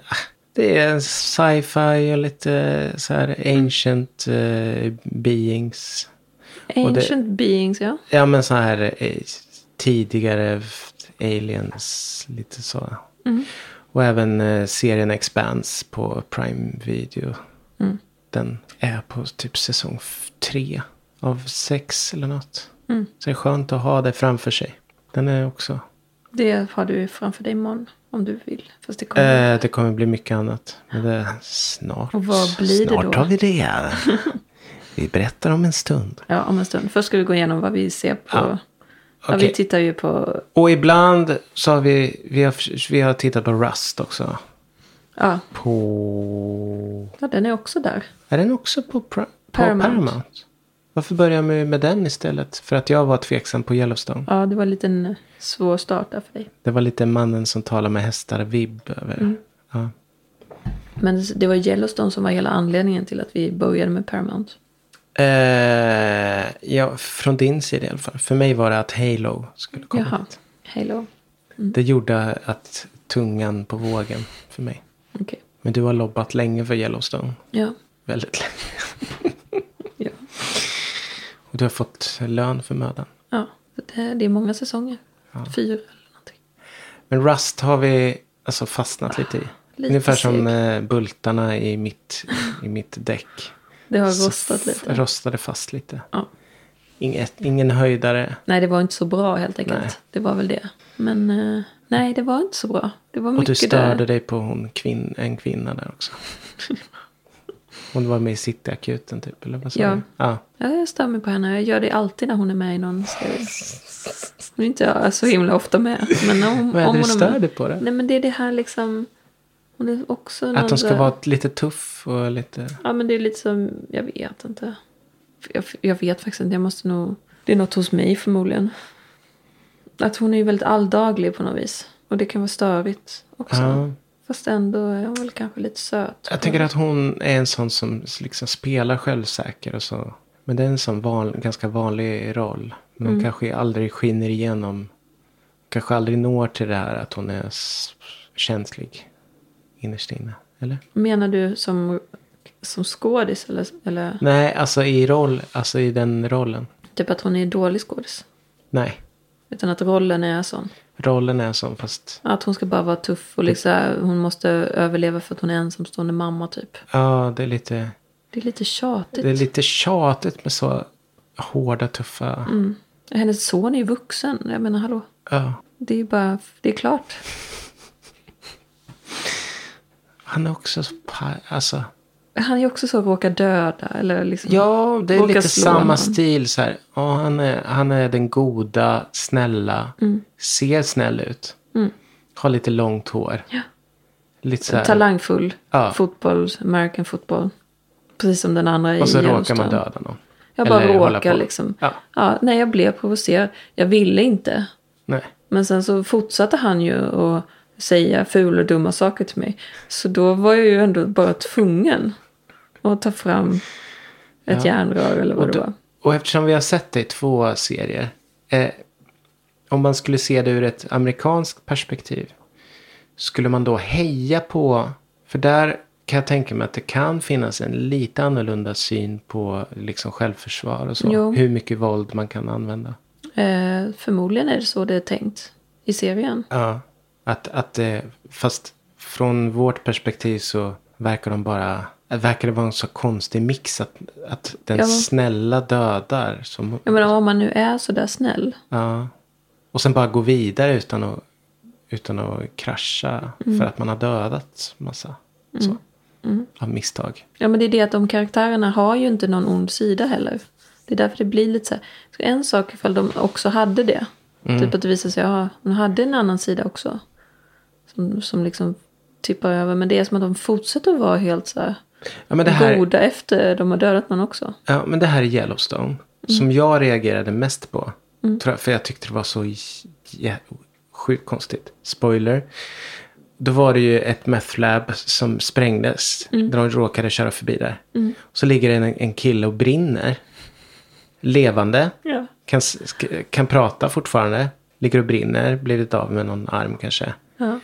C: det är sci-fi och lite eh, så här ancient eh, beings. och det-
B: Ancient beings ja.
C: Ja men så här eh, tidigare f- aliens, lite så.
B: Mm.
C: Och även eh, serien Expanse på Prime Video.
B: Mm.
C: Den är på typ säsong f- tre av sex eller något.
B: Mm.
C: Så det är skönt att ha det framför sig. Den är också.
B: Det har du framför dig imorgon om du vill. Fast det kommer.
C: Eh, det kommer bli mycket annat. Men det snart.
B: Och vad blir det
C: snart
B: då?
C: har vi det. vi berättar om en stund.
B: Ja om en stund. Först ska vi gå igenom vad vi ser på.
C: Ja.
B: Ja.
C: Okej.
B: vi tittar ju på,
C: Och ibland så har vi, vi har, vi har tittat på Rust också.
B: ja,
C: På...
B: ja den är också där.
C: Är den också på, Pri- på Paramount.
B: Paramount.
C: Varför börjar jag med, med den istället? För att jag var tveksam på Yellowstone.
B: Ja det var en liten svår start där för dig.
C: Det var lite mannen som talar med hästar-vibb över.
B: Mm.
C: Ja.
B: Men det var Yellowstone som var hela anledningen till att vi började med Paramount.
C: Eh, ja, från din sida i alla fall. För mig var det att Halo skulle komma
B: Jaha. mm.
C: hit.
B: Halo.
C: Det gjorde att tungan på vågen för mig.
B: Okej.
C: Men du har lobbat länge för Yellowstone.
B: Ja.
C: Väldigt länge.
B: Ja.
C: Och du har fått lön för mödan.
B: ja. Det, det är många säsonger. Fyra eller någonting.
C: Men Rust har vi alltså fastnat lite i.
B: Ah, lite
C: Ungefär som
B: seg.
C: eh, bultarna i mitt, i mitt däck.
B: Det har
C: Så
B: rostat
C: f-
B: lite.
C: Rostade fast lite.
B: Ja.
C: Inget, ingen höjdare.
B: Nej, det var inte så bra helt enkelt.
C: Nej.
B: Det var väl det. Men eh, nej, det var inte så bra. Det var
C: Och
B: mycket
C: du störde
B: där.
C: dig på hon kvinn, en kvinna där också. Hon var med i Cityakuten typ, eller vad sa
B: Ja.
C: du? Ja.
B: Ja, jag stör mig på henne. Jag gör det alltid när hon är med i någon serie. Hon är inte så himla ofta med. Men när hon,
C: Vad är
B: om
C: det
B: hon
C: du
B: är med-
C: stör dig på det?
B: Nej men det är det här liksom. hon Och det är också en
C: Att de ska
B: andra-
C: vara lite tuff och lite...
B: Ja, men det är lite som... Jag vet inte. Jag, jag vet faktiskt inte. Jag måste nog... Det är något hos mig förmodligen. Att hon är ju väldigt alldaglig på något vis. Och det kan vara störigt också.
C: Ja.
B: Fast ändå är hon väl kanske lite söt.
C: Jag tänker att hon är en sån som liksom spelar självsäker och så. Men det är en sån van, ganska vanlig roll. Men hon kanske aldrig skiner igenom. Kanske aldrig når till det här att hon är s- känslig innerst inne. Eller?
B: Menar du som, som skådis? Eller, eller
C: Nej, alltså i roll, alltså i den rollen.
B: typ att hon är dålig skådis?
C: Nej,
B: Utan att rollen är sån.
C: rollen är sån fast.
B: Att hon ska bara vara tuff och liksom, hon måste överleva för att hon är ensamstående mamma typ.
C: Ja, det är lite,
B: Det är lite tjatigt.
C: det är lite tjatigt med så hårda, tuffa.
B: Mm. Hennes son är ju vuxen. Jag menar hallå.
C: Ja.
B: Det är bara, det är klart.
C: Han är också så pa- alltså.
B: Han är ju också så råkar döda. Eller liksom,
C: Ja, det är
B: Råkar
C: lite
B: slå
C: samma
B: någon.
C: stil. Så här. Ja, han, är, han är den goda, snälla, ser snäll ut.
B: Mm.
C: Har lite långt hår. Lite så här.
B: Talangfull.
C: Ja.
B: Fotboll, American football. Precis som den andra i
C: och så råkar
B: Yellowstone.
C: man döda någon.
B: Jag bara
C: Eller hålla
B: råkar
C: på.
B: liksom.
C: Ja.
B: Ja, nej, jag blev provocerad. Jag ville inte.
C: Nej.
B: Men sen så fortsatte han ju att säga fula och dumma saker till mig. Så då var jag ju ändå bara tvungen att ta fram ett
C: Ja.
B: järnrör eller vad
C: Och,
B: det
C: då,
B: var.
C: och eftersom vi har sett det i två serier. Eh, om man skulle se det ur ett amerikanskt perspektiv. Skulle man då heja på. För där kan jag tänka mig att det kan finnas en lite annorlunda syn på liksom självförsvar och så.
B: Jo.
C: Hur mycket våld man kan använda.
B: Eh, förmodligen är det så det är tänkt i serien.
C: Ja. Att, att eh, fast från vårt perspektiv så verkar de bara. Verkar det vara en så konstig mix att, att den
B: Ja.
C: snälla dödar. Som,
B: Jag menar om man nu är sådär snäll.
C: Ja. Och sen bara gå vidare utan att, utan att krascha. För att man har dödat massa. Så. Av misstag.
B: Ja men det är det att de karaktärerna har ju inte någon ond sida heller. Det är därför det blir lite så här. Så En sak ifall de också hade det.
C: Mm.
B: Typ att det visar sig, ja, de hade en annan sida också. Som, som liksom tippar över. Men det är som att de fortsätter att vara helt så här
C: Ja, men det här,
B: goda efter de har dödat någon också.
C: ja, men det här är Yellowstone. Som jag reagerade mest på. Tror jag, för jag tyckte det var så j- jä- sjukt konstigt. Spoiler. Då var det ju ett meth lab som sprängdes. Där de råkade köra förbi där. Så ligger det en, en kille och brinner. Levande.
B: Ja.
C: Kan, sk- kan prata fortfarande. Ligger och brinner. Blivit av med någon arm kanske.
B: ja.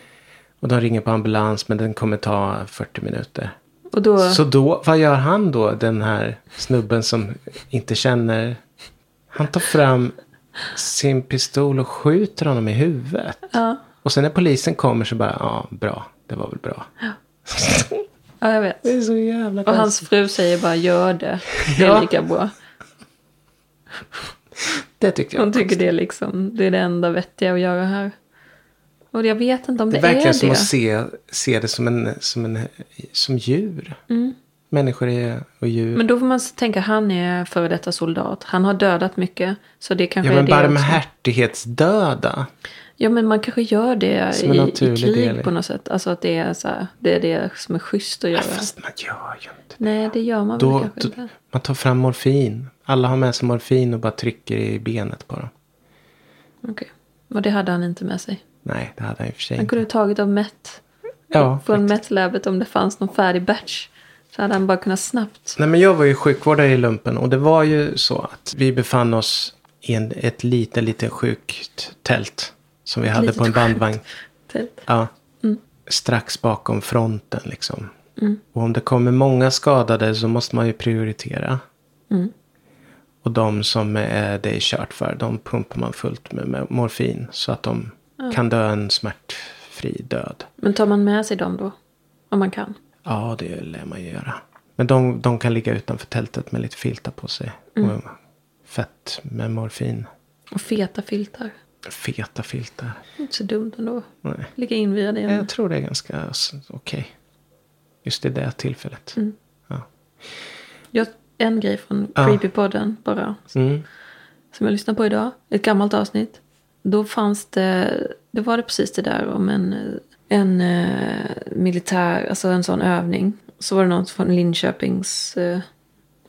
C: Och de ringer på ambulans men den kommer ta 40 minuter.
B: Och då,
C: Så då, vad gör han då? Den här snubben som inte känner. Han tar fram sin pistol och skjuter honom i huvudet.
B: ja,
C: Och sen när polisen kommer så bara, ja bra. Det var väl bra.
B: ja jag vet.
C: Det är så jävla
B: Och hans fru säger bara gör det. Det är
C: Ja.
B: lika bra.
C: Det tyckte jag.
B: Hon tycker det är liksom, det är det enda vettiga att göra här. Och jag vet inte om
C: Det
B: det,
C: är verkligen
B: är
C: som
B: det.
C: att se, se det som, en, som, en, som djur.
B: Mm.
C: Människor är, och djur.
B: Men då får man tänka, han är före detta soldat. Han har dödat mycket. Så det kanske
C: ja men
B: är det också.
C: barmhärtighetsdöda.
B: Ja, men man kanske gör det
C: Som en
B: i, i
C: naturlig
B: krig
C: del i-
B: på något sätt. Alltså att det är, så här, det är det som är schysst att göra.
C: Fast man gör ju inte
B: Nej, det gör man väl
C: Då,
B: kanske
C: då,
B: inte.
C: man tar fram morfin. Alla har med sig morfin och bara trycker i benet på dem.
B: Okej. Och det hade han inte med sig.
C: Nej, det hade han i och för sig
B: Han kunde
C: inte.
B: ha tagit av Met.
C: Ja,
B: Från
C: faktiskt.
B: Met-labbet om det fanns någon färdig batch. Så hade han bara kunnat snabbt.
C: Nej, men jag var ju sjukvårdare i lumpen och det var ju så att vi befann oss i en, ett litet, litet sjukt tält. Som vi hade
B: litet
C: på en
B: sjukt
C: bandvagn.
B: tält.
C: Ja. Strax bakom fronten liksom. Och om det kommer många skadade så måste man ju prioritera. Och de som är det är kört för, de pumpar man fullt med, med morfin. Så att de kan dö en smärtfri död.
B: Men tar man med sig dem då? Om man kan.
C: Ja, det lär man ju göra. Men de, de kan ligga utanför tältet med lite filtar på sig. Och fett med morfin.
B: Och feta filtar.
C: Feta filtar.
B: Inte så dumt ändå.
C: Nej.
B: Ligga invirad i en
C: Jag tror det är ganska s- okej. Just i det tillfället. Ja.
B: Jag, en grej från
C: Ja.
B: Creepypodden bara.
C: Mm.
B: Som jag lyssnar på idag. Ett gammalt avsnitt. Då fanns det, då var det precis det där om en eh, en eh, militär, alltså en sån övning. Så var det någon från Linköpings, eh,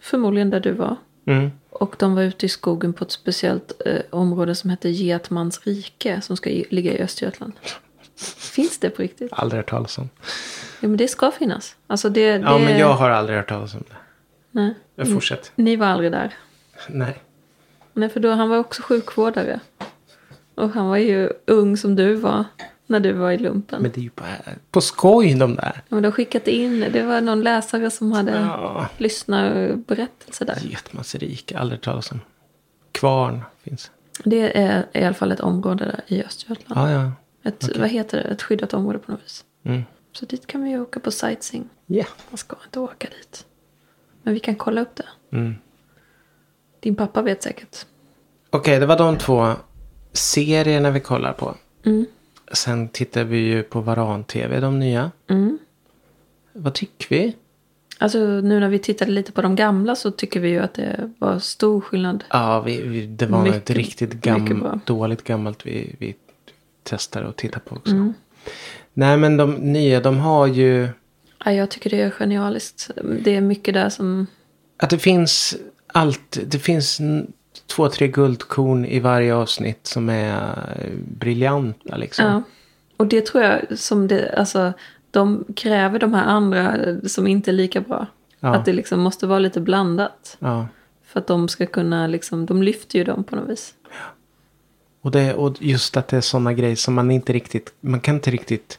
B: förmodligen där du var.
C: Mm.
B: Och de var ute i skogen på ett speciellt eh, område som heter Getmans rike som ska i, ligga i Östergötland. Finns det på riktigt?
C: Aldrig hört talas om.
B: Jo men det ska finnas. Alltså det, det...
C: Ja, men jag har aldrig hört talas om det.
B: Nej.
C: Jag fortsätter.
B: Ni var aldrig där.
C: Nej.
B: Nej, för då han var också sjukvårdare. Och han var ju ung som du var när du var i lumpen. Men,
C: Men det är ju bara på skoj de där.
B: de har skickat in, det var någon läsare som hade
C: Ja.
B: lyssnarberättelse där.
C: Getmansrik, aldrig hört talas om. Kvarn finns.
B: Det är i alla fall ett område där i Östergötland.
C: Ja, ja.
B: Ett, Vad heter det? Ett skyddat område på något vis.
C: Mm.
B: Så dit kan vi ju åka på sightseeing.
C: Ja.
B: Man ska inte åka dit. Men vi kan kolla upp det.
C: Mm.
B: Din pappa vet säkert.
C: Okej, det var de två serierna vi kollar på.
B: Mm.
C: Sen tittar vi ju på Varan-TV, de nya.
B: Mm.
C: Vad tycker vi?
B: Alltså nu när vi tittade lite på de gamla så tycker vi ju att det var stor skillnad.
C: Ja, vi, vi, det var
B: Mycket-
C: något riktigt
B: mycket bra.
C: gam, dåligt gammalt vi, vi testade och tittade på också.
B: Mm.
C: Nej, men de nya, de har ju...
B: Ja, jag tycker det är genialiskt. Det är mycket där som...
C: Att det finns allt. Det finns n- två, tre guldkorn i varje avsnitt som är eh, briljanta liksom.
B: Ja. Och det tror jag som det... Alltså, de kräver de här andra som inte är lika bra.
C: Ja.
B: Att det liksom måste vara lite blandat.
C: Ja.
B: För att de ska kunna liksom... De lyfter ju dem på något vis.
C: Och, det, och just att det är sådana grejer som man inte riktigt, man kan inte riktigt,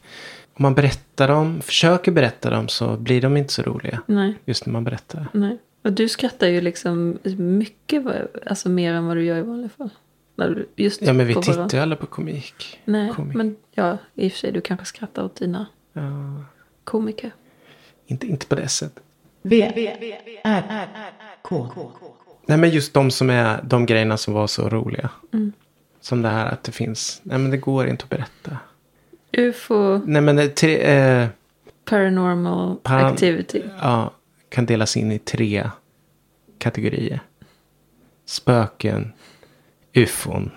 C: om man berättar dem, försöker berätta dem så blir de inte så roliga.
B: Nej,
C: Just när man berättar.
B: nej. Och du skrattar ju liksom mycket alltså, mer än vad du gör i vanliga fall. När du- Just
C: Ja men vi
B: på våra-
C: tittar ju alla på komik.
B: Nej,
C: komik.
B: men ja, i och för sig, du kanske skrattar åt dina
C: Ja,
B: komiker.
C: inte, inte på det sättet.
A: V, V, R, R, K.
C: Nej men just de som är de grejerna som var så roliga.
B: Mm.
C: Som det här att det finns, nej men det går inte att berätta.
B: UFO,
C: Nej men det, tre, eh,
B: paranormal
C: Paran-
B: activity.
C: ja, kan delas in i tre kategorier. Spöken, ufon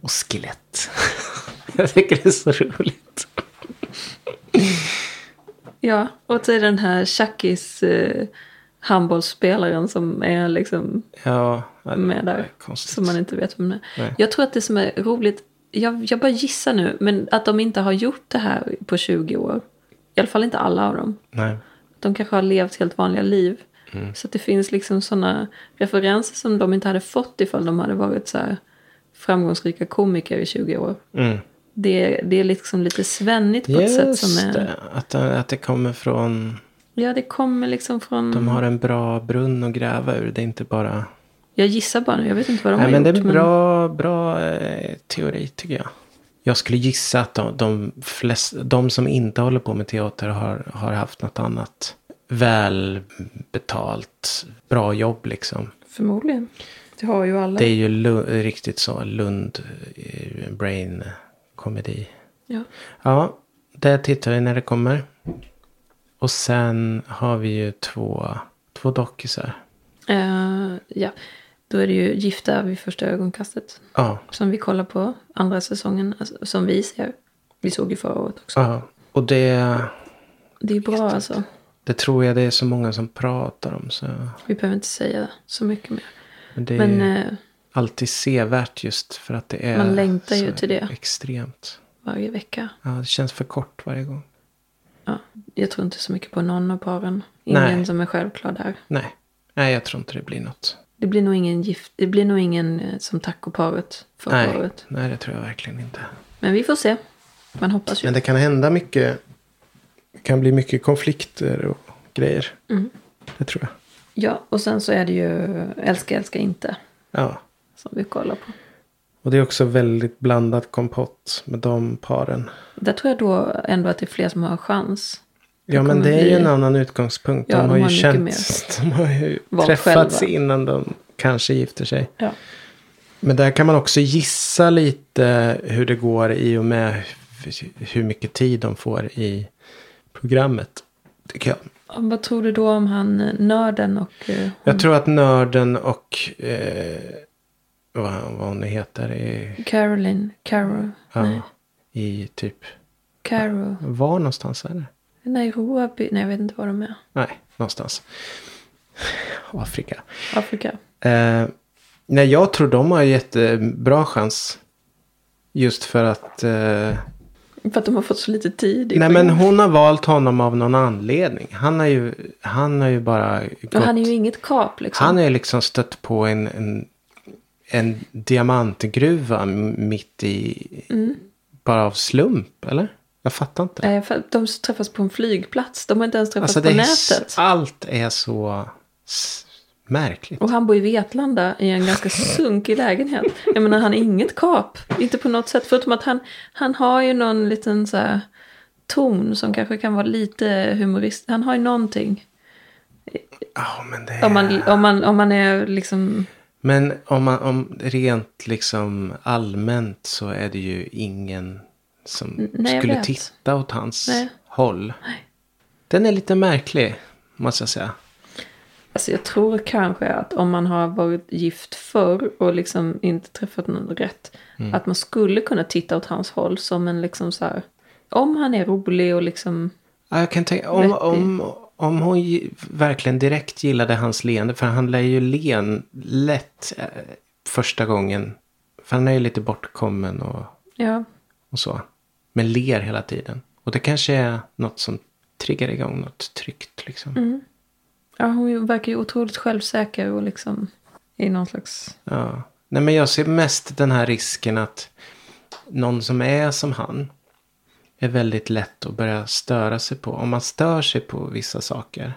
C: och skelett. Jag tycker det är så roligt.
B: Ja, och till den här Chuckys eh, handbollsspelaren som är liksom
C: Ja, ja, det
B: med
C: är
B: där.
C: konstigt.
B: Som man inte vet vem det är.
C: Nej.
B: Jag tror att det som är roligt, jag, jag bara gissar nu, men att de inte har gjort det här på 20 år. I alla fall inte alla av dem.
C: Nej.
B: De kanske har levt helt vanliga liv.
C: Mm.
B: Så att det finns liksom sådana referenser som de inte hade fått ifall de hade varit så här framgångsrika komiker i 20 år.
C: Mm.
B: Det, det är liksom lite svennigt på ett sätt
C: Just
B: som är...
C: det, att, det- att det kommer från...
B: Ja, det kommer liksom från...
C: De har en bra brunn att gräva ur. Det är inte bara...
B: Jag gissar bara nu, jag vet inte vad de
C: Nej,
B: har
C: men det
B: gjort.
C: är en bra, bra eh, teori tycker jag. Jag skulle gissa att de, de, flest, de som inte håller på med teater har, har haft något annat välbetalt, bra jobb liksom.
B: Förmodligen. Det har ju alla.
C: Det är ju lu- riktigt så Lund eh, brain komedi.
B: Ja.
C: Ja, det tittar vi när det kommer. Och sen har vi ju två, två dockisar.
B: Eh, ja. Då är det ju Gifta vid första ögonkastet.
C: Ja,
B: Som vi kollar på andra säsongen, alltså, som vi ser. Vi såg ju förra året också.
C: ja. Och det,
B: Det är bra alltså.
C: det tror jag det är så många som pratar om. Så.
B: Vi behöver inte säga så mycket mer.
C: Men det är
B: Men
C: ju
B: eh,
C: alltid sevärt just för att det är
B: Man längtar ju
C: så
B: till det.
C: extremt.
B: varje vecka.
C: Ja, det känns för kort varje gång.
B: Ja. Jag tror inte så mycket på någon av paren. Ingen
C: Nej.
B: som är självklar där.
C: Nej, nej jag tror inte det blir något.
B: Det blir nog ingen, gift, det blir nog ingen eh, som tacoparet förra
C: Nej,
B: året.
C: nej, det tror jag verkligen inte.
B: Men vi får se. Man hoppas ju.
C: Typ. Men det kan hända mycket. Det kan bli mycket konflikter och grejer.
B: Mm.
C: Det tror jag.
B: Ja, och sen så är det ju Älska, älska inte.
C: Ja.
B: Som vi kollar på.
C: Och det är också väldigt blandad kompott med de paren.
B: Där tror jag då ändå att det är fler som har en chans.
C: Ja
B: kommer
C: men det är
B: bli-
C: ju en annan utgångspunkt.
B: Ja,
C: de,
B: de
C: har
B: har
C: ju
B: mycket
C: känt, de har ju
B: Valt
C: träffats
B: själva.
C: innan de kanske gifter sig.
B: Ja.
C: Men där kan man också gissa lite hur det går i och med hur mycket tid de får i programmet. Tycker jag.
B: Vad tror du då om han eh, nörden och... eh,
C: jag tror att nörden och eh, vad, vad hon nu heter i,
B: Caroline, Carol,
C: ja, i typ
B: Caro.
C: Var någonstans är det?
B: Nairobi. Nej, jag vet inte var de är.
C: Nej, någonstans. Afrika.
B: Afrika.
C: Eh, nej, jag tror de har jättebra chans. Just för att... Eh,
B: För att de har fått så lite tid. i
C: nej, men
B: programmet.
C: hon har valt honom av någon anledning. Han har ju, han har ju bara gått...
B: Men han är ju inget kap liksom.
C: Han har ju liksom stött på en, en, en diamantgruva m- mitt i...
B: Mm.
C: Bara av slump, eller? Jag fattar inte.
B: Nej, för att de träffas på en flygplats. De har inte ens träffats
C: Alltså, det
B: på
C: är, s-
B: nätet.
C: Allt är så s- märkligt.
B: Och han bor i Vetlanda i en ganska sunkig lägenhet. Jag menar, han är inget kap. Inte på något sätt. Förutom att han, han har ju någon liten så här, ton som kanske kan vara lite humorist. Han har ju någonting.
C: Ja, men det är...
B: Om man, om man, om man är liksom...
C: Men om, man, om rent liksom allmänt så är det ju ingen som
B: nej, jag
C: skulle
B: vet.
C: titta åt hans
B: Nej.
C: håll. Den är lite märklig, måste jag säga.
B: Alltså jag tror kanske att om man har varit gift förr och liksom inte träffat någon rätt. Att man skulle kunna titta åt hans håll som en liksom så här... Om han är rolig och liksom...
C: Ja, Jag kan tänka, om,
B: Vettig.
C: om, om hon gi- verkligen direkt gillade hans leende, för han lär ju len lätt eh, första gången. För han är ju lite bortkommen och,
B: Ja,
C: och så. Men ler hela tiden. Och det kanske är något som triggar igång något tryggt liksom.
B: Ja, hon verkar ju otroligt självsäker och liksom i någon slags...
C: Ja. Nej, men jag ser mest den här risken att någon som är som han är väldigt lätt att börja störa sig på. Om man stör sig på vissa saker,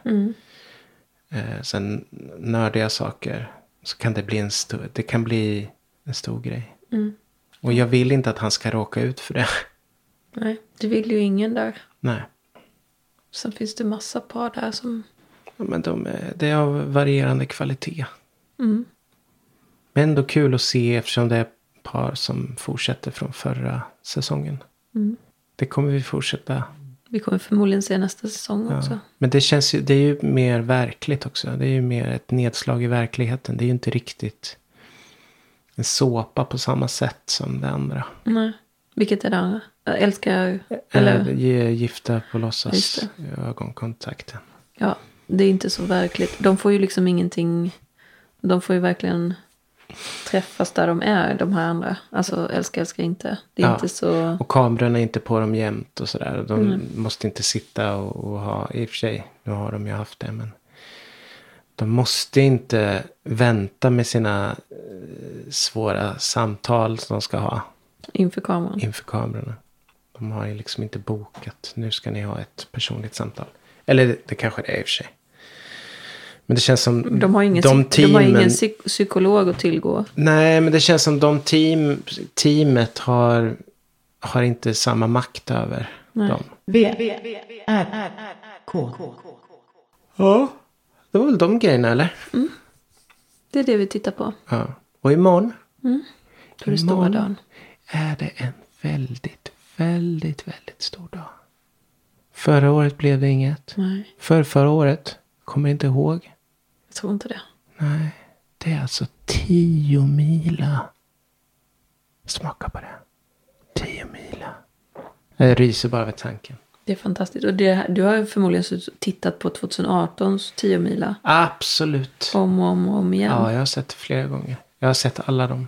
C: eh, sen nördiga saker, så kan det bli en stor, det kan bli en stor grej. Och jag vill inte att han ska råka ut för det.
B: Nej, det vill ju ingen där.
C: Nej.
B: Sen finns det massa par där som...
C: Ja, Men de, är- det är av varierande kvalitet.
B: Mm.
C: Men ändå kul att se eftersom det är par som fortsätter från förra säsongen.
B: Mm.
C: Det kommer vi fortsätta.
B: Vi kommer förmodligen se nästa säsong också.
C: Men det känns ju, det är ju mer verkligt också. Det är ju mer ett nedslag i verkligheten. Det är ju inte riktigt en såpa på samma sätt som det andra.
B: Nej. Vilket är det andra? Jag älskar... Eller...
C: Eh, ge- Gifta på låtsas
B: Just
C: ögonkontakten.
B: Ja, det är inte så verkligt. De får ju liksom ingenting... De får ju verkligen träffas där de är, de här andra. Alltså, älskar, älskar inte. Det är
C: Ja.
B: inte så...
C: Och kamerorna är inte på dem jämt och sådär. Och De
B: Mm.
C: måste inte sitta och, och ha, i och för sig, nu har de ju haft det men. De måste inte vänta med sina eh, svåra samtal som de ska ha
B: Inför kameran.
C: inför kamerorna. De har ju liksom inte bokat, nu ska ni ha ett personligt samtal. Eller det, det kanske det är i och för sig. Men det känns som
B: De har ingen,
C: Mm. de
B: psy- de har ingen
C: teamen-
B: psyk- psykolog att tillgå.
C: Nej, men det känns som de team, teamet har, har inte samma makt över dem.
A: V, V, R, R, K.
C: Ja, det var väl de grejerna eller?
B: Det är det vi tittar på.
C: Ja. Och imorgon,
B: På den stora
C: Imorgon.
B: dagen.
C: är det en väldigt, väldigt, väldigt stor dag. Förra året blev det inget.
B: Nej,
C: För förra året, kommer inte ihåg.
B: jag tror inte det.
C: Nej, det är alltså tio mila. Smaka på det. Tio mila. Jag ryser bara vid tanken.
B: Det är fantastiskt. Och det, du har ju förmodligen suttit- tittat på 2018s 10 mila
C: Absolut.
B: om och om och om igen.
C: Ja, jag har sett det flera gånger. Jag har sett alla dem.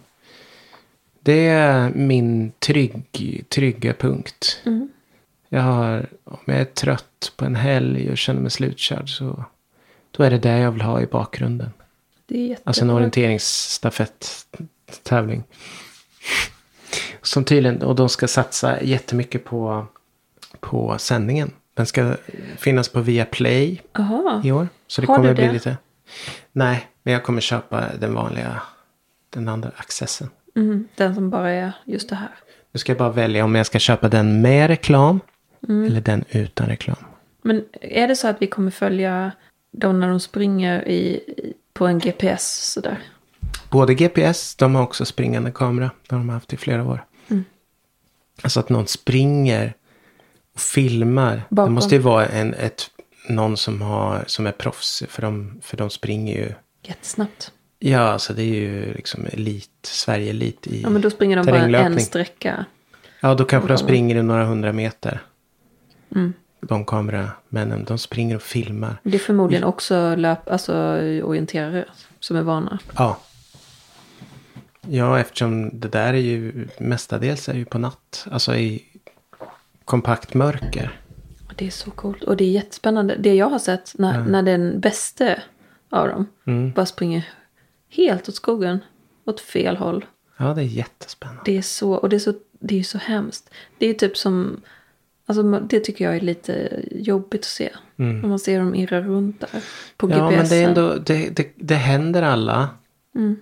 C: Det är min trygg, trygga punkt. Jag har, om jag är trött på en helg och känner mig slutkörd så då är det det jag vill ha i bakgrunden.
B: Det är jättebra.
C: Alltså en orienteringsstafett-tävling. Som tydligen, och de ska satsa jättemycket på, på sändningen. Den ska finnas på Viaplay
B: Aha.
C: i år. Så det
B: Har du
C: kommer bli
B: det?
C: lite... Nej, men jag kommer köpa den vanliga, den andra accessen.
B: Mm, den som bara är just det här.
C: Nu ska jag bara välja om jag ska köpa den med reklam
B: Mm.
C: eller den utan reklam.
B: Men är det så att vi kommer följa dem när de springer i, i- på en GPS sådär?
C: Både GPS, de har också springande kamera. Det har de haft i flera år.
B: Mm.
C: Alltså att någon springer och filmar.
B: Bakom.
C: Det måste ju vara en, ett, någon som, har, som är proffs. För de, för de springer ju.
B: Jättesnabbt.
C: Ja, alltså det är ju liksom elit, Sverige-elit i
B: Ja, men då springer de bara en
C: terränglöpning.
B: sträcka.
C: Ja, då kanske de
B: Ungdomar. Mm.
C: springer i några hundra meter. De kameramännen, de springer och filmar.
B: Det är förmodligen också löp, alltså, orienterare som är vana.
C: Ja. Ja, eftersom det där är ju mestadels är ju på natt. Alltså i kompakt mörker.
B: Och Det är så coolt och det är jättespännande. Det jag har sett när,
C: Mm.
B: när den bäste av dem bara springer helt åt skogen, åt fel håll.
C: Ja, det är jättespännande.
B: Det är så, och det är så, det är så hemskt. Det är typ som, alltså man- det tycker jag är lite jobbigt att se. När man ser dem irra runt där på
C: Mm. Ja,
B: GPSen.
C: men det är ändå, det, det, det händer alla.
B: Mm.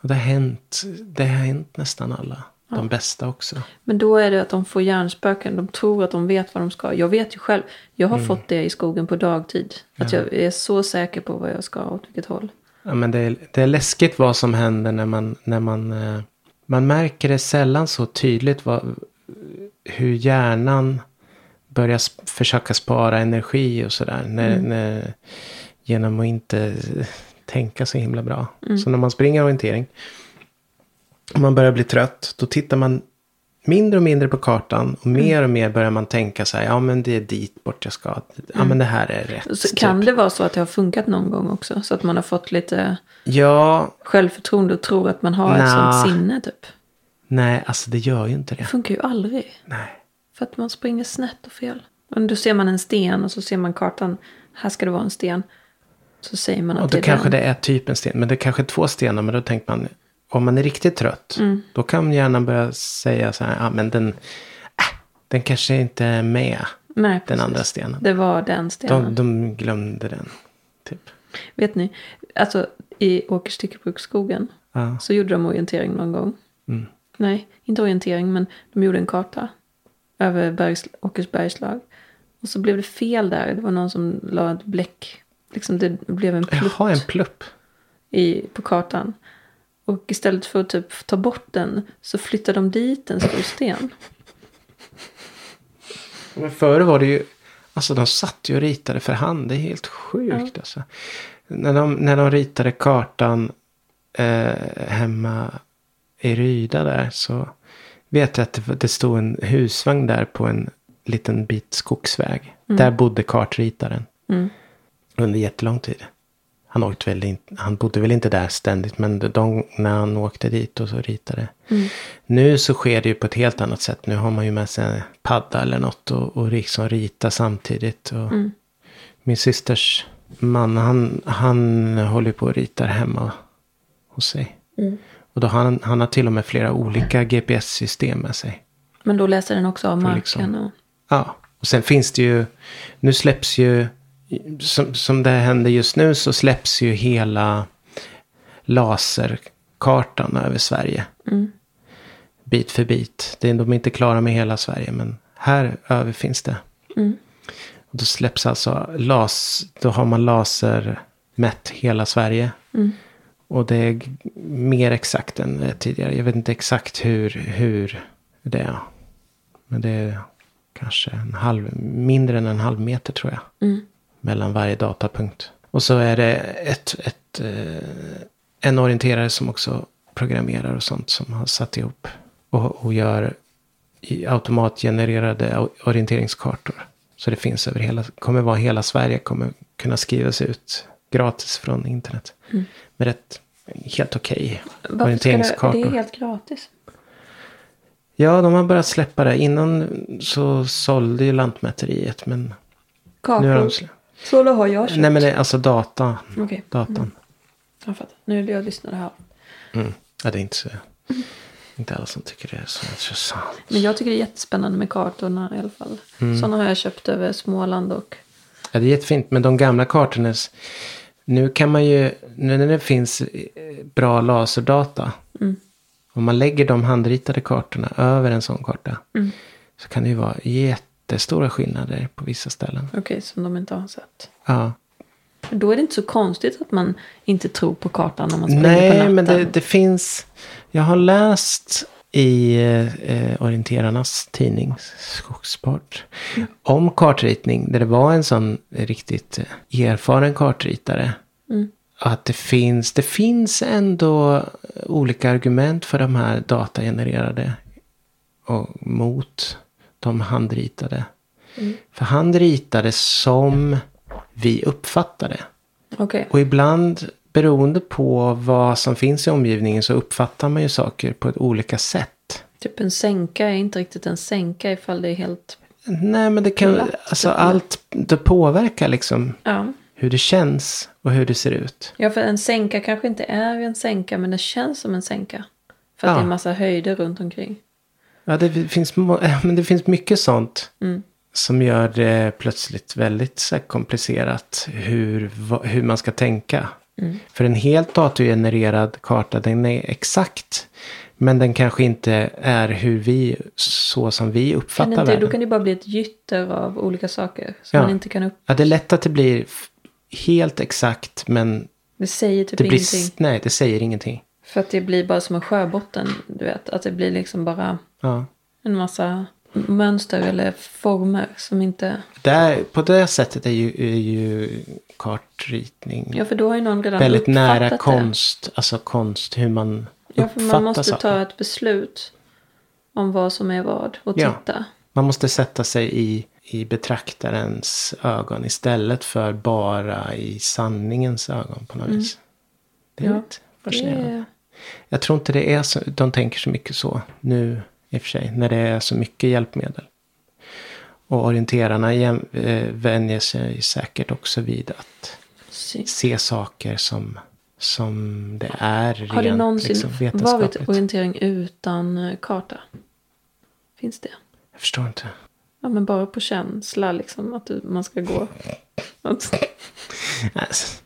C: Och det har hänt, det har hänt nästan alla. De bästa också.
B: Men då är det att de får hjärnspöken. De tror att de vet vad de ska. Jag vet ju själv. Jag
C: Mm.
B: har fått det i skogen på dagtid. Att jag är så säker på vad jag ska åt vilket håll.
C: Ja, men det, är, det är läskigt vad som händer när man... När man, eh, man märker det sällan så tydligt vad, hur hjärnan börjar sp- försöka spara energi och sådär. När,
B: Mm.
C: när, genom att inte tänka så himla bra.
B: Mm.
C: Så när man springer orientering och man börjar bli trött, då tittar man mindre och mindre på kartan och
B: Mm.
C: mer och mer börjar man tänka så här, ja men det är dit bort jag ska, ja men det här är rätt.
B: Mm. Så
C: typ.
B: kan det vara så att det har funkat någon gång också? Så att man har fått lite
C: Ja,
B: självförtroende och tror att man har ett
C: Nja.
B: sånt sinne typ.
C: nej alltså det gör ju inte det.
B: Det funkar ju aldrig.
C: Nej.
B: För att man springer snett och fel. Men då ser man en sten och så ser man kartan. Här ska det vara en sten. Så säger man att
C: Och då
B: det är
C: kanske
B: den.
C: det är typ en sten. Men det är kanske två stenar. Men då tänker man, om man är riktigt trött.
B: Mm.
C: Då kan hjärnan börja säga så här, ah, men den, äh, den kanske inte är med.
B: Nej,
C: Den
B: precis.
C: andra stenen.
B: Det var den stenen.
C: De, de glömde den. Typ.
B: Vet ni, alltså i Åkers styckebruksskogen
C: Ja.
B: så gjorde de orientering någon gång.
C: Mm.
B: Nej, inte orientering, men de gjorde en karta över bergs, Åkers bergslag. Och så blev det fel där. Det var någon som la ett bläck. Liksom det blev en plutt
C: Jaha, en plupp.
B: i, på kartan. Och istället för att typ ta bort den så flyttade de dit en stor sten.
C: Men förr var det ju, alltså de satt ju och ritade för hand. Det är helt sjukt alltså. När de, när de ritade kartan eh, hemma i Ryda där så vet jag att det, var- det stod en husvagn där på en liten bit skogsväg. Där bodde kartritaren. Under jättelång tid. Han, åkte väl in, han bodde väl inte där ständigt men de, när han åkte dit och så ritade. Nu så sker det ju på ett helt annat sätt. Nu har man ju med sig en padda eller något och, och liksom ritar samtidigt. Och Min systers man han, han håller ju på och ritar hemma hos sig. Och då har han, han har till och med flera olika GPS-system med sig.
B: Men då läser den också av marken.
C: liksom-
B: Och,
C: Ja, och sen finns det ju, nu släpps ju, som, som det händer just nu så släpps ju hela laserkartan över Sverige. Bit för bit. Det är, de är inte klara med hela Sverige men här över finns det.
B: Mm,
C: Och då släpps alltså las, då har man lasermätt hela Sverige.
B: mm,
C: Och det är g- mer exakt än eh, tidigare. Jag vet inte exakt hur, hur det är. Men det är kanske en halv, mindre än en halv meter tror jag.
B: mm.
C: Mellan varje datapunkt. Och så är det ett, ett, eh, en orienterare som också programmerar och sånt som har satt ihop. Och, och gör i automatgenererade o- orienteringskartor. Så det finns över hela, kommer vara hela Sverige, kommer kunna skrivas ut gratis från internet. Med rätt, helt okej
B: Mm. varför ska det,
C: orienteringskartor.
B: det är helt gratis.
C: Ja, de har börjat släppa det. Innan så sålde ju Lantmäteriet, men nu har de
B: Kakor.
C: släppt.
B: Sådana har jag köpt.
C: Nej, men det, alltså data.
B: Okej.
C: Datan.
B: Jag fattar. Nu är det jag lyssnar här.
C: Mm. Ja, det är inte så... Inte alla som tycker det är så intressant.
B: Men jag tycker det är jättespännande med kartorna i alla fall.
C: Mm.
B: Sådana har jag köpt över Småland och...
C: Ja, det är jättefint. Men de gamla kartorna. är s- Nu kan man ju, nu när det finns eh, bra laserdata.
B: Mm.
C: Om man lägger de handritade kartorna över en sån karta.
B: Mm.
C: Så kan det ju vara jättestora skillnader på vissa ställen.
B: Okej, som de inte har sett.
C: Ja.
B: Då är det inte så konstigt att man inte tror på kartan när man springer på
C: Nej,
B: natten.
C: men det, det finns... Jag har läst i eh, orienterarnas tidning Skogssport om kartritning. Där det var en sån riktigt eh, erfaren kartritare. Att det finns, det finns ändå olika argument för de här datagenererade och mot de handritade. För han ritade som vi uppfattade.
B: Okej.
C: Och ibland beroende på vad som finns i omgivningen så uppfattar man ju saker på ett olika sätt.
B: Typ en sänka är inte riktigt en sänka ifall det är helt...
C: Nej men det kan,
B: Glatt,
C: alltså
B: typ.
C: allt, det påverkar liksom
B: Ja.
C: hur det känns och hur det ser ut.
B: ja, för en sänka kanske inte är en sänka men det känns som en sänka. För att
C: Ja.
B: det är en massa höjder runt omkring.
C: Ja, det finns, må- men det finns mycket sånt
B: Mm.
C: som gör det plötsligt väldigt så här komplicerat hur, va- hur man ska tänka.
B: Mm.
C: För en helt datorgenererad karta, den är exakt. Men den kanske inte är hur vi, så som vi
B: Kan
C: uppfattar
B: inte,
C: världen.
B: då kan det bara bli ett gytter av olika saker som
C: Ja.
B: man inte kan upp...
C: Ja, det är lätt att det blir f- helt exakt, men
B: Det säger typ
C: det, blir, s-
B: ingenting.
C: nej, det säger ingenting.
B: För att det blir bara som en sjöbotten, du vet. Att det blir liksom bara
C: Ja.
B: en massa mönster eller former som inte...
C: Där, på det sättet är ju, är ju kartritning
B: Ja, för då har ju någon redan
C: väldigt
B: uppfattat
C: nära
B: det.
C: konst, alltså konst, hur man
B: Ja, för man
C: uppfattar
B: måste
C: saker.
B: ta ett beslut om vad som är vad och
C: Ja.
B: titta.
C: Man måste sätta sig i, i betraktarens ögon istället för bara i sanningens ögon på något vis. Det är
B: Mm. Ja,
C: lite
B: Det
C: fascinerande.
B: är,
C: Jag tror inte det är så, de tänker så mycket så nu i och för sig, när det är så mycket hjälpmedel. Och orienterarna jäm, eh, vänjer sig säkert också vid att
B: sy-
C: se saker som, som det är rent
B: har det någonsin
C: liksom,
B: varit
C: vetenskapligt.
B: orientering utan eh, karta? Finns det?
C: Jag förstår inte.
B: Ja, men bara på känsla liksom att du, man ska gå. Att,
C: Alltså,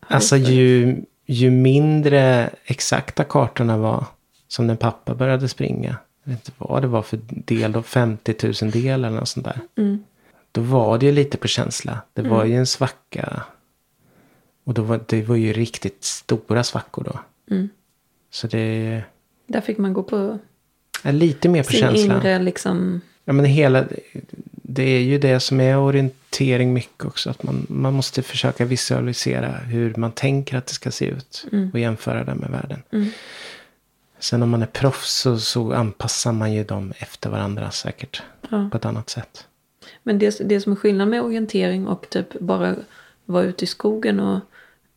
C: alltså ju, ju mindre exakta kartorna var som när pappa började springa. Jag vet inte vad det var för del då, 50 000 del eller något sånt där.
B: Mm,
C: Då var det ju lite på känsla. Det var ju en svacka. Och då var, det var ju riktigt stora svackor då. Så det
B: mm. där fick man gå på
C: är lite mer på
B: sin
C: känsla.
B: inre liksom.
C: Ja, men hela, det är ju det som är orientering mycket också. Att man, man måste försöka visualisera hur man tänker att det ska se ut.
B: Mm.
C: Och jämföra det med världen. Sen om man är proffs så, så anpassar man ju dem efter varandra säkert.
B: Ja.
C: På ett annat sätt.
B: Men det, det som är skillnad med orientering och typ bara vara ute i skogen och,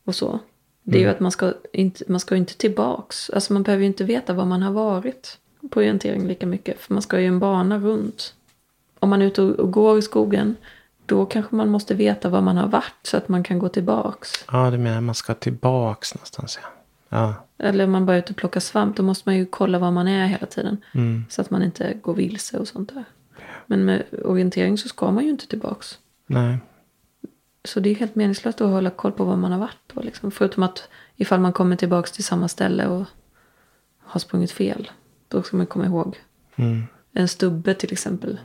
B: och så. Det är ju att man ska, inte, man ska ju inte tillbaks. Alltså man behöver ju inte veta var man har varit på orientering lika mycket. För man ska ju en bana runt. Om man är ute och, och går i skogen. Då kanske man måste veta var man har varit så att man kan gå tillbaks.
C: Ja, du menar man ska tillbaks någonstans ja. Ja,
B: Eller om man bara är ute och plockar svamp. Då måste man ju kolla var man är hela tiden. Så att man inte går vilse och sånt där. Men med orientering så ska man ju inte tillbaks.
C: nej.
B: Så det är helt meningslöst att hålla koll på var man har varit på. Liksom. Förutom att ifall man kommer tillbaka till samma ställe och har sprungit fel. Då ska man komma ihåg.
C: Mm.
B: En stubbe till exempel.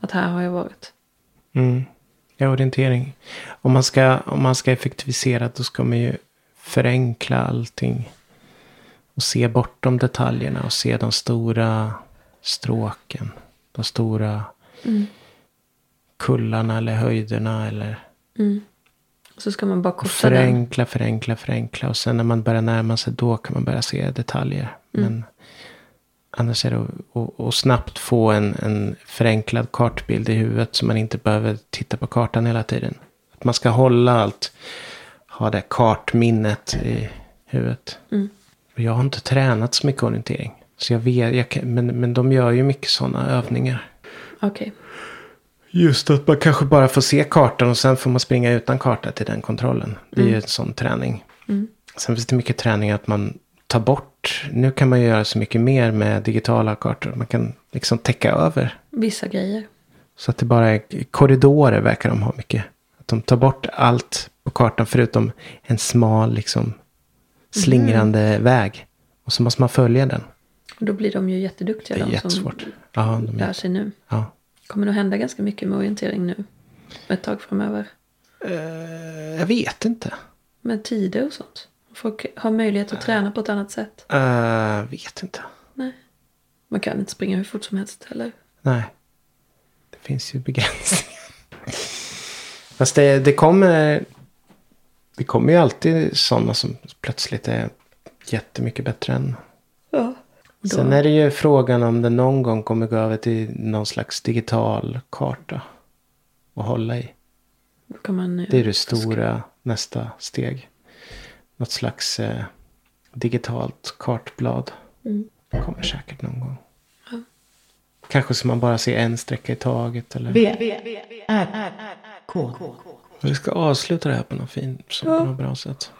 B: Att här har jag varit.
C: Mm. Ja, orientering. Om man, ska, om man ska effektivisera då ska man ju förenkla allting. Och se bortom detaljerna och se de stora stråken. De stora kullarna eller höjderna. Eller
B: Och så ska man bara korta den.
C: förenkla, förenkla, förenkla. Och sen när man börjar närma sig då kan man börja se detaljer. Men annars är det att- att att snabbt få en, en förenklad kartbild i huvudet. Så man inte behöver titta på kartan hela tiden. Att man ska hålla allt. Ha det kartminnet i huvudet. Och jag har inte tränat så mycket orientering. Så jag vet, jag kan, men, men de gör ju mycket sådana övningar.
B: Okej.
C: Just att man kanske bara får se kartan och sen får man springa utan karta till den kontrollen. Det är
B: Mm.
C: ju en sån träning. Sen finns det mycket träning att man tar bort. Nu kan man ju göra så mycket mer med digitala kartor. Man kan liksom täcka över.
B: Vissa grejer.
C: Så att det bara är korridorer verkar de ha mycket. Att de tar bort allt på kartan förutom en smal liksom slingrande
B: Mm.
C: väg. Och så måste man följa den.
B: Och då blir de ju jätteduktiga.
C: Det är
B: de
C: jättesvårt.
B: Som
C: Ja, de
B: lär
C: är,
B: sig nu.
C: ja.
B: Kommer det att hända ganska mycket med orientering nu? Ett tag framöver.
C: Eh, jag vet inte.
B: Med tider och sånt. Folk har möjlighet att träna på ett annat sätt.
C: Eh, vet inte.
B: Nej. Man kan inte springa hur fort som helst heller.
C: Nej. Det finns ju begränsningar. Fast det, det kommer... Det kommer ju alltid sådana som plötsligt är jättemycket bättre än.
B: Ja. Då-
C: Sen är det ju frågan om det någon gång kommer gå över till någon slags digital karta. att hålla i.
B: Då kan man, eh,
C: Det är det stora nästa steg. Något slags eh, digitalt kartblad.
B: Mm.
C: Kommer säkert någon gång. Kanske så man bara ser en sträcka i taget. Eller...
A: V, V, R, R, R, K.
C: Vi ska avsluta det här på något fint, så på något bra sätt.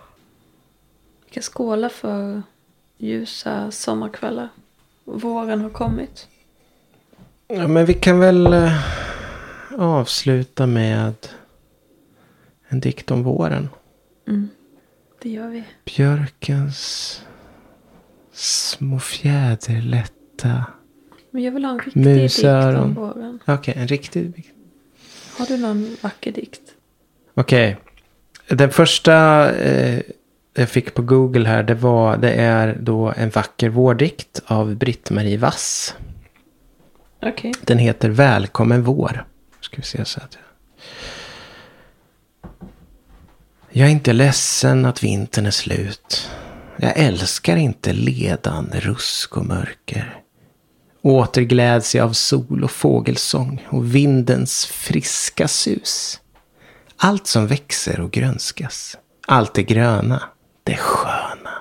B: Vi kan skåla för ljusa sommarkvällar. Våren har kommit.
C: Ja, men vi kan väl eh, avsluta med en dikt om våren.
B: Det gör vi.
C: Björkens små fjäderlätta.
B: Men jag vill ha en riktig dikt om
C: Musöron.
B: våren.
C: Okej, en riktig dikt.
B: Har du någon vacker dikt?
C: Okej. Den första eh, jag fick på Google här, det, var, det är då en vacker vårdikt av Britt-Marie Wass.
B: Okej.
C: Den heter Välkommen vår. Ska vi se så att jag... Jag är inte ledsen att vintern är slut. Jag älskar inte ledan, rusk och mörker. Åter gläds jag av sol och fågelsång och vindens friska sus. Allt som växer och grönskas. Allt det gröna, det sköna.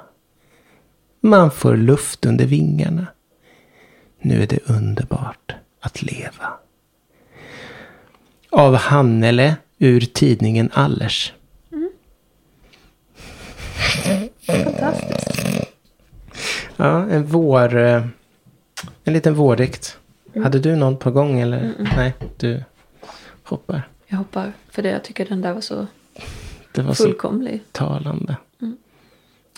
C: Man får luft under vingarna. Nu är det underbart att leva. Av Hannele ur tidningen Allers.
B: Fantastiskt.
C: Ja, en vår... eh, En liten vårdikt. Hade du någon på gång eller? Nej, du hoppar.
B: Jag hoppar för det. Jag tycker den där var så
C: Det var så
B: fullkomlig.
C: talande.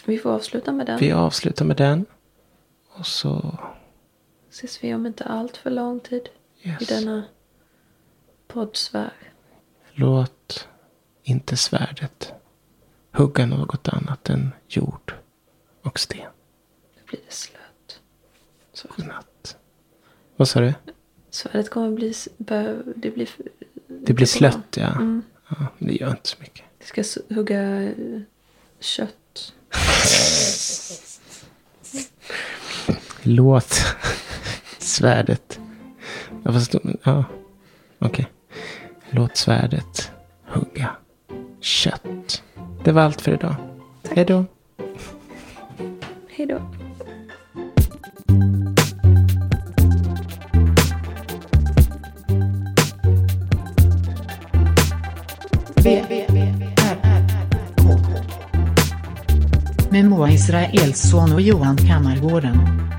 B: Vi får avsluta med den.
C: Vi avslutar med den. Och så...
B: Ses vi om inte allt för lång tid i
C: Yes.
B: denna poddsfär.
C: Låt inte svärdet hugga något annat än jord och sten.
B: Då blir det slött. Så.
C: Godnatt. Vad sa du?
B: Svärdet kommer bli... s- bö- Det blir... f-
C: Det blir
B: inte bra.
C: slött, ja.
B: Mm.
C: ja. men Det gör inte så mycket.
B: Vi ska s- hugga eh, kött.
C: Låt svärdet... Ja, fast, ja. okej. Låt svärdet hugga kött. Det var allt för idag. Hej då.
B: Hej då.
A: V, V, R, R, K. Med Moa Israelsson och Johan Kammargården.